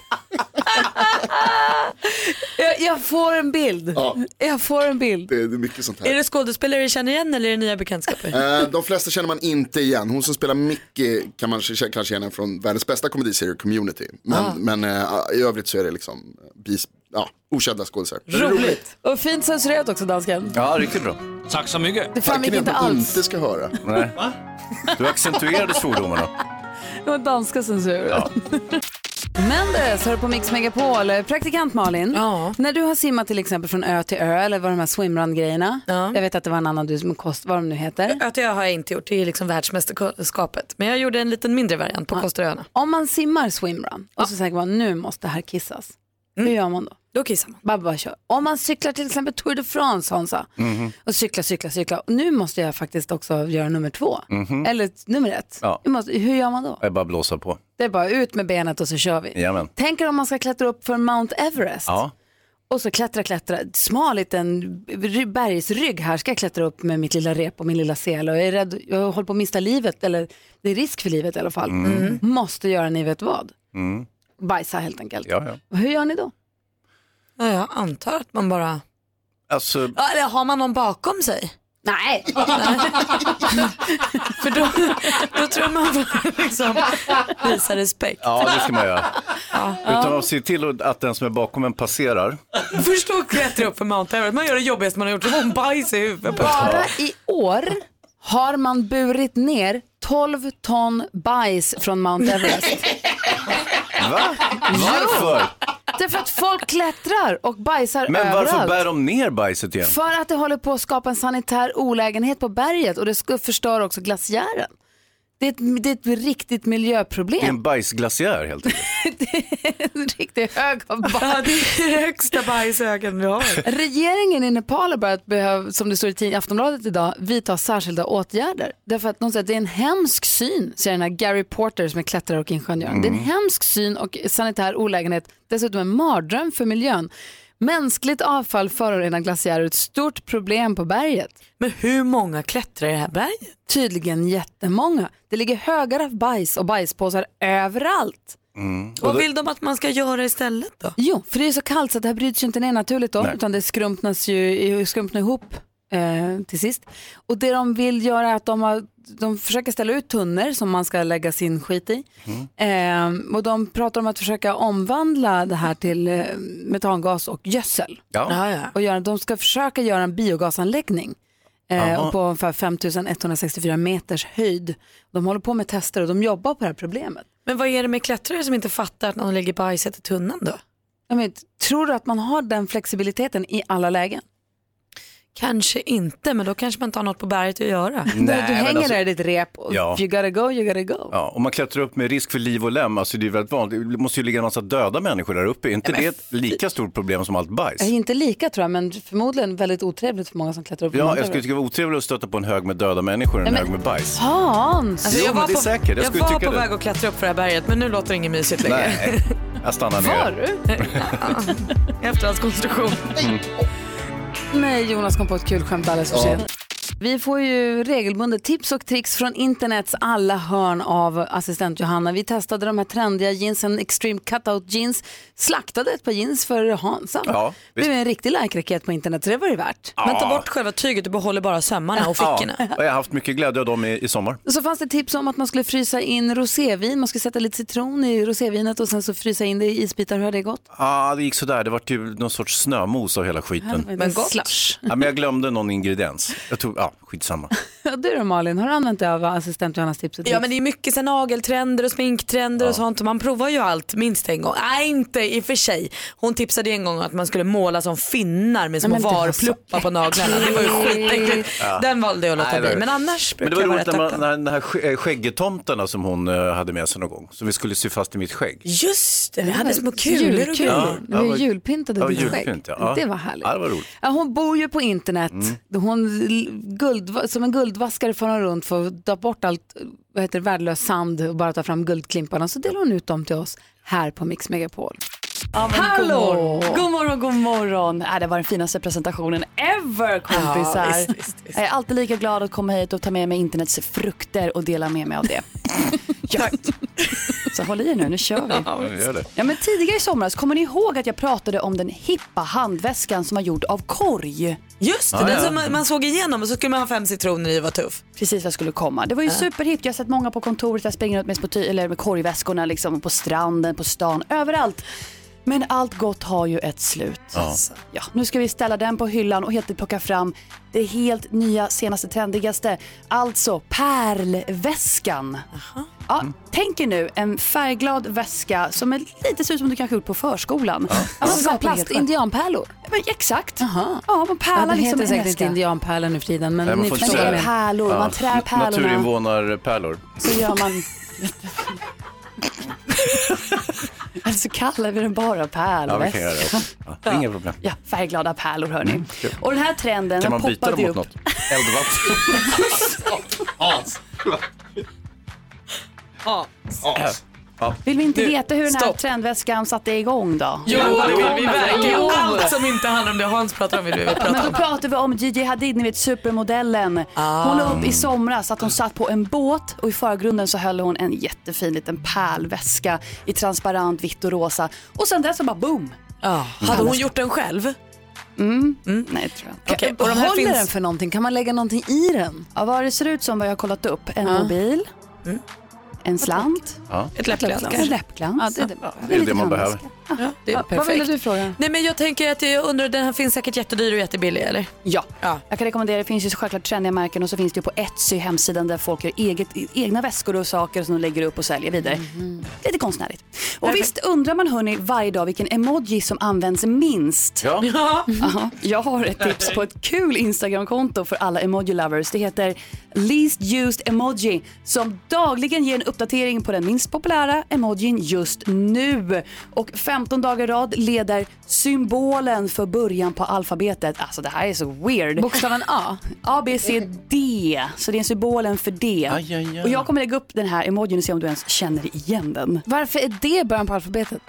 Speaker 1: Jag, jag får en bild. Jag får en bild.
Speaker 7: Det, det är mycket sånt här.
Speaker 3: Är det skådespelare du känner igen eller är det nya bekantskaper?
Speaker 7: Eh, de flesta känner man inte igen. Hon som spelar Mickey kan man k- kanske känna från världens bästa komediserie Community. Men,
Speaker 1: Ah.
Speaker 7: men eh, i övrigt så är det liksom eh, bis, ja, okända skådisar.
Speaker 1: Roligt. Och fint censurerat också dansken.
Speaker 2: Ja, riktigt bra.
Speaker 12: Tack så mycket.
Speaker 1: Det framgick inte alls.
Speaker 7: inte ska höra.
Speaker 2: Nej. Du accentuerade svordomarna.
Speaker 1: Det var danska censuren. Mendes hör på Mix Megapol. Praktikant Malin, när du har simmat till exempel från ö till ö eller vad de här swimrun-grejerna. Jag vet att det var en annan du som kost, vad de nu heter.
Speaker 3: Att jag har jag inte gjort, det är liksom världsmästerskapet. Men jag gjorde en liten mindre variant på Kosteröarna.
Speaker 1: Om man simmar swimrun och så tänker man nu måste det här kissas. Hur gör man då?
Speaker 3: Då kissar man.
Speaker 1: Bara, bara kör. Om man cyklar till exempel Tour de France Hansa och cyklar, cyklar, cyklar. Och nu måste jag faktiskt också göra nummer två.
Speaker 2: Mhm.
Speaker 1: Eller nummer ett.
Speaker 2: Ja.
Speaker 1: Nu Måste, hur gör man då?
Speaker 2: Jag bara blåsa på.
Speaker 1: Det är bara ut med benet och så kör vi.
Speaker 2: Jajamän.
Speaker 1: Tänk er om man ska klättra upp för Mount Everest.
Speaker 2: Ja.
Speaker 1: Och så klättra, klättra. Smal liten ry- bergsrygg här ska jag klättra upp med mitt lilla rep och min lilla sel. Och jag är rädd, jag håller på att mista livet, eller det är risk för livet i alla fall.
Speaker 2: Mm.
Speaker 1: Måste göra ni vet vad. bajsa helt enkelt.
Speaker 2: Ja, ja.
Speaker 1: Hur gör ni då?
Speaker 3: Ja, jag antar att man bara...
Speaker 2: Alltså,
Speaker 3: Ja, eller har man någon bakom sig?
Speaker 1: Nej.
Speaker 3: För då, då tror jag man får liksom visa respekt.
Speaker 2: ja, det ska man göra.
Speaker 3: Ja.
Speaker 2: Utan att se till att den som är bakom en passerar.
Speaker 3: Först att klättra upp för Mount Everest, man gör det jobbigaste man har gjort, så får man bajs i huvudet. på en.
Speaker 1: Bara i år har man burit ner 12 ton bajs från Mount Everest.
Speaker 2: Va? Varför?
Speaker 1: Därför att folk klättrar och bajsar
Speaker 2: Men
Speaker 1: överallt.
Speaker 2: varför bär de ner bajset igen?
Speaker 1: För att det håller på att skapa en sanitär olägenhet på berget och det ska förstöra också glaciären. Det är ett, det är ett riktigt
Speaker 2: Det är
Speaker 1: miljöproblem.
Speaker 2: en bajsglaciär helt enkelt.
Speaker 1: En riktig hög av bajs.
Speaker 3: Ja, det är den högsta bajshögen vi har.
Speaker 1: Regeringen i Nepal har börjat, behöva, som det står i tid- Aftonbladet idag, vidta särskilda åtgärder. Därför att de säger att det är en hemsk syn, säger den här Gary Porter som är klättrare och ingenjör. Det är en hemsk syn och sanitär olägenhet, dessutom en mardröm för miljön. Mänskligt avfall förorenar glaciärer, ett stort problem på berget.
Speaker 3: Men hur många klättrar i det här berget?
Speaker 1: Tydligen jättemånga. Det ligger högar av bajs och bajspåsar överallt.
Speaker 3: Vad vill de att man ska göra istället då?
Speaker 1: Jo, för det är så kallt så att det här bryts ju inte ner naturligt då,
Speaker 3: Nej.
Speaker 1: utan det skrumpnas ju skrumpnar ihop eh, till sist. Och det de vill göra är att de, har, de försöker ställa ut tunnor som man ska lägga sin skit i. Eh, och de pratar om att försöka omvandla det här till eh, metangas och gödsel.
Speaker 2: Ja. Ja, ja.
Speaker 1: Och göra, de ska försöka göra en biogasanläggning. Eh,
Speaker 2: Aha.
Speaker 1: och på ungefär 5164 meters höjd. De håller på med tester och de jobbar på det här problemet.
Speaker 3: Men vad är det med klättrare som inte fattar att någon lägger bajset i tunnan då?
Speaker 1: Jag men, tror du att man har den flexibiliteten i alla lägen?
Speaker 3: Kanske inte, men då kanske man inte har något på berget att göra.
Speaker 2: Nej, men
Speaker 1: du hänger
Speaker 2: alltså-
Speaker 1: där i ditt rep och
Speaker 2: Ja.
Speaker 1: you gotta go, you gotta go.
Speaker 2: Ja, om man klättrar upp med risk för liv och lem, alltså det är väldigt vanligt. Det måste ju ligga en massa döda människor där uppe. Är inte det ett lika stort problem som allt bajs?
Speaker 1: Det är inte lika tror jag, men förmodligen väldigt otrevligt för många som klättrar upp. på
Speaker 2: Ja,
Speaker 1: Mount
Speaker 2: jag skulle
Speaker 1: Everest.
Speaker 2: tycka det var otrevligt att stöta på en hög med döda människor än en
Speaker 1: Nej,
Speaker 2: hög med bajs.
Speaker 1: Hans!
Speaker 2: Alltså, Jo, jag men var det är på- säkert. Jag jag skulle var
Speaker 3: Jag var
Speaker 2: tycka
Speaker 3: på
Speaker 2: det.
Speaker 3: väg att klättra upp för det här berget, men nu låter det inget mysigt längre.
Speaker 2: Nej, jag stannar
Speaker 1: Var
Speaker 2: ner.
Speaker 1: du?
Speaker 3: Efterhandskonstruktion.
Speaker 1: Nej, Jonas kom på ett kul skämt alldeles för
Speaker 3: Ja.
Speaker 1: sent. Vi får ju regelbundet tips och tricks från internets alla hörn av assistent Johanna. Vi testade de här trendiga jeansen, extreme cutout jeans, slaktade ett par jeans för Hansa.
Speaker 3: Ja,
Speaker 1: det
Speaker 3: visst.
Speaker 1: blev en riktig like-raket på internet, så det var det värt.
Speaker 3: Men ta bort själva tyget och behåller bara sömmarna och fickorna.
Speaker 2: Ja, och jag har haft mycket glädje av dem i, i sommar.
Speaker 1: Och så fanns det tips om att man skulle frysa in rosévin. Man skulle sätta lite citron i rosévinet och sen så frysa in det i isbitar. Hur har det gått?
Speaker 2: Ja, det gick sådär. Det var typ någon sorts snömos av hela skiten.
Speaker 1: Men Men gott. slush.
Speaker 2: Ja, men jag glömde någon ingrediens. Jag tror, ja, skitsamma.
Speaker 1: Ja, Du då Malin, har du använt dig av assistent Johannas tips och tricks?
Speaker 3: Ja men det är mycket sen nageltrender och sminktrender och sånt. Man provar ju allt minst en gång. Nej inte i och för sig. Hon tipsade ju en gång att man skulle måla som finnar med små
Speaker 1: Nej, men det var
Speaker 3: varpluppar på naglarna. Det var ju skitäckligt.
Speaker 2: Ja.
Speaker 3: Den valde jag att låta
Speaker 2: Nej, det
Speaker 3: bli.
Speaker 2: var-
Speaker 3: Men annars
Speaker 2: Men det
Speaker 3: brukar
Speaker 2: var
Speaker 3: jag vara
Speaker 2: roligt när,
Speaker 3: rätt
Speaker 2: man,
Speaker 3: öppen.
Speaker 2: när den här sk- eh, skäggetomtarna som hon eh, hade med sig någon gång. Så vi skulle sy fast i mitt skägg.
Speaker 3: Just det, vi
Speaker 1: Det
Speaker 3: hade
Speaker 1: var
Speaker 3: små kulor och
Speaker 1: julkulor.
Speaker 3: grejer.
Speaker 1: Vi var julpyntade
Speaker 2: ja,
Speaker 1: ditt skägg.
Speaker 2: julpynt, ja.
Speaker 1: Det var härligt.
Speaker 2: Ja, det var roligt. Mm.
Speaker 1: Ja, hon bor ju på internet. Hon, l- guld, som en guldvaskare far hon runt för att ta bort allt vad heter, det, värdelös sand och bara ta fram guldklimparna. Så delar hon ut dem till oss här på Mix Megapol.
Speaker 5: Hallå!
Speaker 1: Hallå!
Speaker 5: God morgon, god morgon. Äh, det var den finaste presentationen ever kompisar.
Speaker 1: Ja, visst, visst,
Speaker 5: Jag är alltid lika glad att komma hit och ta med mig internets frukter och dela med mig av det. ja. Så håll i er nu, nu kör vi.
Speaker 2: Ja, vi gör det.
Speaker 5: Ja, men tidigare i somras, kommer ni ihåg att jag pratade om den hippa handväskan som var gjord av korg?
Speaker 3: Just det,
Speaker 5: Ja,
Speaker 3: den
Speaker 5: ja.
Speaker 3: som man, man såg igenom och så skulle man ha fem citroner i och vara tuff.
Speaker 5: Precis vad jag skulle komma. Det var ju
Speaker 3: Ja.
Speaker 5: superhippt. Jag har sett många på kontoret, jag springer runt med, små ty- eller med korgväskorna liksom, på stranden, på stan, överallt. Men allt gott har ju ett slut. Alltså,
Speaker 4: Ja.
Speaker 5: Ja, nu ska vi ställa den på hyllan och helt enkelt plocka fram det helt nya, senaste, trendigaste. Alltså pärlväskan. Ja, tänk er nu en färgglad väska som är lite ser ut som du kanske gjort på förskolan.
Speaker 1: Alltså så här plast, indianpärlor?
Speaker 5: Men exakt. Ja, man pärlar
Speaker 1: det
Speaker 5: liksom
Speaker 1: heter
Speaker 5: en
Speaker 1: säkert
Speaker 5: väska.
Speaker 1: inte indianpärlor nu för tiden. Men
Speaker 2: Nej,
Speaker 1: ni
Speaker 2: man får inte
Speaker 1: förstår vad
Speaker 2: säga
Speaker 1: jag
Speaker 2: det.
Speaker 1: menar.
Speaker 5: Pärlor, man trär
Speaker 2: Na-
Speaker 5: pärlorna.
Speaker 2: Naturinvånarpärlor.
Speaker 5: Så gör man... Eller så kallar vi den bara
Speaker 2: Ja, vi kan göra det
Speaker 5: pärlväska.
Speaker 2: också. Ja, det är inga problem.
Speaker 5: Ja, färgglada pärlor hörni.
Speaker 2: kul.
Speaker 5: Och den här trenden
Speaker 2: Kan
Speaker 5: den
Speaker 2: man byta
Speaker 5: poppade
Speaker 2: dem
Speaker 5: ju
Speaker 2: mot
Speaker 5: upp.
Speaker 2: något? Eldvatten?
Speaker 3: Ja.
Speaker 2: Ja.
Speaker 5: Vill vi inte
Speaker 3: Nu,
Speaker 5: veta hur den här
Speaker 3: stopp.
Speaker 5: trendväskan satte igång då?
Speaker 3: Jo, det vill vi verkligen.
Speaker 5: Jo.
Speaker 3: Allt som inte handlar om det Hans pratar om vill vi prata
Speaker 5: Men
Speaker 3: om.
Speaker 5: då pratar vi om Gigi Hadid, ni vet supermodellen.
Speaker 3: Ah.
Speaker 5: Hon la upp i somras att hon satt på en båt och i förgrunden så höll hon en jättefin liten pärlväska i transparent vitt och rosa. Och sen dess så bara boom!
Speaker 3: Hade hon gjort den själv?
Speaker 5: Mm. Nej, tror jag inte.
Speaker 3: Okej, och de här
Speaker 5: Håller
Speaker 3: finns-
Speaker 5: den för någonting? Kan man lägga någonting i den? Mm. Ja, vad det ser ut som vad jag har kollat upp. En mobil, en slant,
Speaker 3: Ett läppglans
Speaker 5: En
Speaker 3: kanske?
Speaker 5: läppglans.
Speaker 3: Ja, det är det.
Speaker 2: Det är det man behöver.
Speaker 3: Det är
Speaker 5: Ja, vad
Speaker 3: perfekt.
Speaker 5: ville du fråga?
Speaker 3: Nej, men jag tänker att jag undrar, den här finns säkert jättedyr och jättebillig eller?
Speaker 5: Ja. Jag kan rekommendera, det finns ju självklart trendiga märken och så finns det ju på Etsy hemsidan där folk gör eget, egna väskor och saker som de lägger upp och säljer vidare. Lite konstnärligt. Och visst undrar man hörni varje dag vilken emoji som används minst?
Speaker 2: Ja.
Speaker 5: Aha. Jag har ett tips på ett kul Instagramkonto för alla emoji lovers. Det heter Least Used Emoji som dagligen ger en uppdatering på den minst populära emojin just nu. Och 15 dagar i rad leder symbolen för början på alfabetet. Alltså det här är så weird.
Speaker 1: Bokstaven A?
Speaker 5: A, B, C, D. Så det är symbolen för D.
Speaker 1: Aj, aj, aj.
Speaker 5: Och jag kommer lägga upp den här emojin och se om du ens känner igen den.
Speaker 1: Varför är det början på alfabetet?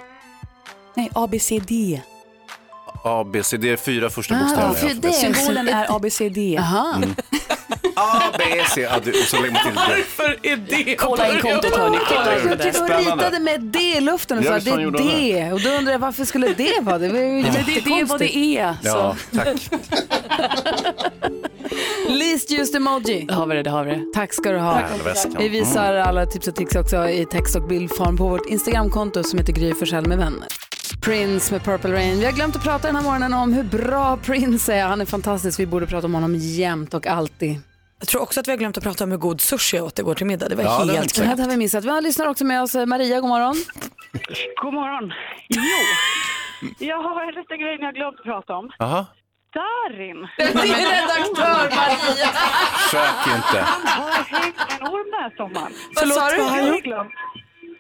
Speaker 5: Nej, A, B, C, D.
Speaker 2: A, B, C, D, fyra första
Speaker 5: Ah,
Speaker 2: bokstäver.
Speaker 5: för
Speaker 2: i alfabetet.
Speaker 5: Symbolen är A, B, C, D.
Speaker 2: A, B, C, ja, det- och så lägger man till det.
Speaker 3: Varför är det?
Speaker 5: Kolla in kontot hörni. Kolla in
Speaker 1: Jag
Speaker 5: det.
Speaker 1: tyckte hon ritade med ett D i luften och
Speaker 2: Ja,
Speaker 1: sa
Speaker 2: visst
Speaker 1: det
Speaker 2: fan
Speaker 1: är
Speaker 2: gjorde hon
Speaker 1: D. Och då undrar jag varför skulle det vara det? Det är ju
Speaker 2: Ja.
Speaker 5: Men det är det vad det är. Så.
Speaker 2: Ja, tack.
Speaker 1: Least used emoji.
Speaker 5: Har vi det, det har vi det.
Speaker 1: Tack ska du ha.
Speaker 5: Pärlväskan.
Speaker 1: Vi visar alla tips och tricks också i text och bildform på vårt Instagramkonto som heter Gry Forssell med vänner. Prince med Purple Rain. Vi har glömt att prata den här morgonen om hur bra Prince är. Han är fantastisk. Vi borde prata om honom jämt och alltid.
Speaker 3: Jag tror också att vi har glömt att prata om hur god sushi jag åt igår till middag. Det var
Speaker 1: Ja, det har vi
Speaker 3: helt
Speaker 1: inte sagt. Det har vi missat. Vi har lyssnar också med oss. Maria, god morgon.
Speaker 8: God morgon. Jo, jag har en liten grej ni har glömt att prata om.
Speaker 2: Aha.
Speaker 8: Darin.
Speaker 1: Det är redaktör Maria.
Speaker 2: Sök inte.
Speaker 8: Han har hängt en orm den här sommaren.
Speaker 3: Vad Förlåt, sa du?
Speaker 8: Jag
Speaker 3: vad har han gjort?
Speaker 8: glömt.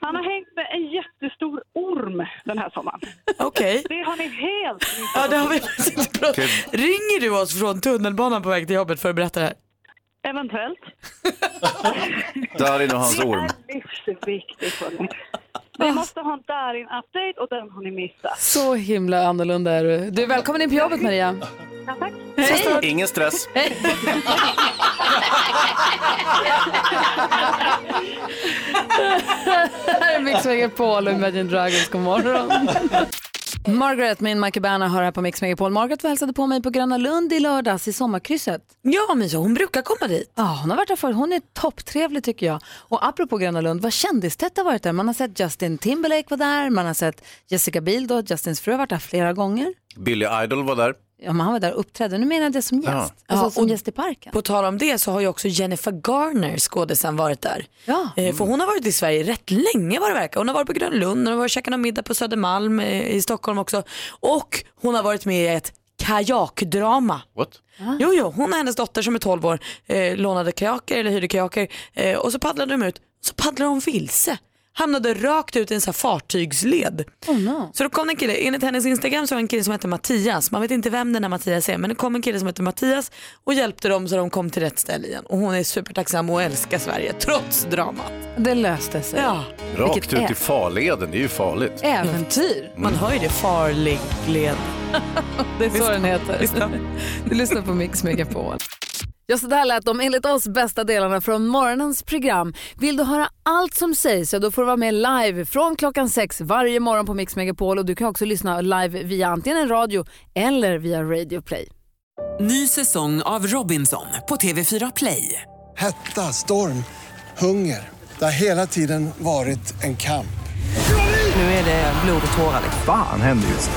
Speaker 8: Han har hängt med en jättestor orm den här sommaren.
Speaker 3: Okej.
Speaker 8: Det har ni helt missat.
Speaker 3: Ja, det har vi faktiskt inte pratat Ringer du oss från tunnelbanan på väg till jobbet för att berätta det här?
Speaker 8: Eventuellt.
Speaker 2: Darin och hans orm.
Speaker 8: Det är livsviktigt. hörni. Vi måste ha en Darin-update och den har ni missat.
Speaker 1: Så himla annorlunda är du. Du är välkommen in på jobbet Maria.
Speaker 8: Ja, tack.
Speaker 2: Ingen stress.
Speaker 1: här är Mix Megapol och Imagine Dragons. God morgon. Margaret, min Michael Berna, hör här på Mix Megapol. Margaret var och hälsade på mig på Gröna Lund i lördags i sommarkrysset.
Speaker 3: Ja, men hon brukar komma dit.
Speaker 1: Ja, hon har varit där förut. Hon är topptrevlig tycker jag. Och apropå Gröna Lund, vad kändistätt har varit där. Man har sett Justin Timberlake var där, man har sett Jessica Biel då, Justins fru har varit där flera gånger.
Speaker 2: Billy Idol var där.
Speaker 1: Ja, men han var där och uppträdde. Nu menar jag det som gäst.
Speaker 3: Ja.
Speaker 1: Alltså
Speaker 3: Ja,
Speaker 1: som
Speaker 3: och-
Speaker 1: gäst i parken.
Speaker 3: På tal om det så har ju också Jennifer Garner, skådisen, varit där.
Speaker 1: Ja.
Speaker 3: Eh, för hon har varit i Sverige rätt länge vad det verkar. Hon har varit på Grönlund, hon har varit och käkat någon middag på Södermalm eh, i Stockholm också. Och hon har varit med i ett kajakdrama.
Speaker 2: What?
Speaker 3: Jo, jo, hon och hennes dotter som är 12 år eh, lånade kajaker eller hyrde kajaker eh, och så paddlade de ut, så paddlade hon vilse. Hamnade rakt ut i en sån här fartygsled.
Speaker 1: Oh no.
Speaker 3: Så då kom det en kille, enligt hennes instagram så var det en kille som hette Mattias, man vet inte vem den här Mattias är, men det kom en kille som hette Mattias och hjälpte dem så de kom till rätt ställe igen. Och hon är supertacksam och älskar Sverige trots dramat.
Speaker 1: Det löste sig.
Speaker 3: Ja.
Speaker 2: Rakt
Speaker 3: Vilket
Speaker 2: ut
Speaker 3: ä-
Speaker 2: i farleden, det är ju farligt.
Speaker 1: Äventyr.
Speaker 3: Man hör ju det, farlig led.
Speaker 1: Det är så den heter. Du lyssnar på Mix Megapol. Ja, så där lät de enligt oss bästa delarna från morgonens program. Vill du höra allt som sägs, ja, då får du vara med live från klockan sex varje morgon på Mix Megapol. Och du kan också lyssna live via antingen en radio eller via Radio Play.
Speaker 14: Ny säsong av Robinson på TV4 Play.
Speaker 15: Hetta, storm, hunger. Det har hela tiden varit en kamp.
Speaker 14: Nu är det
Speaker 3: Eh,
Speaker 14: blod och tårar.
Speaker 16: Fan händer just det.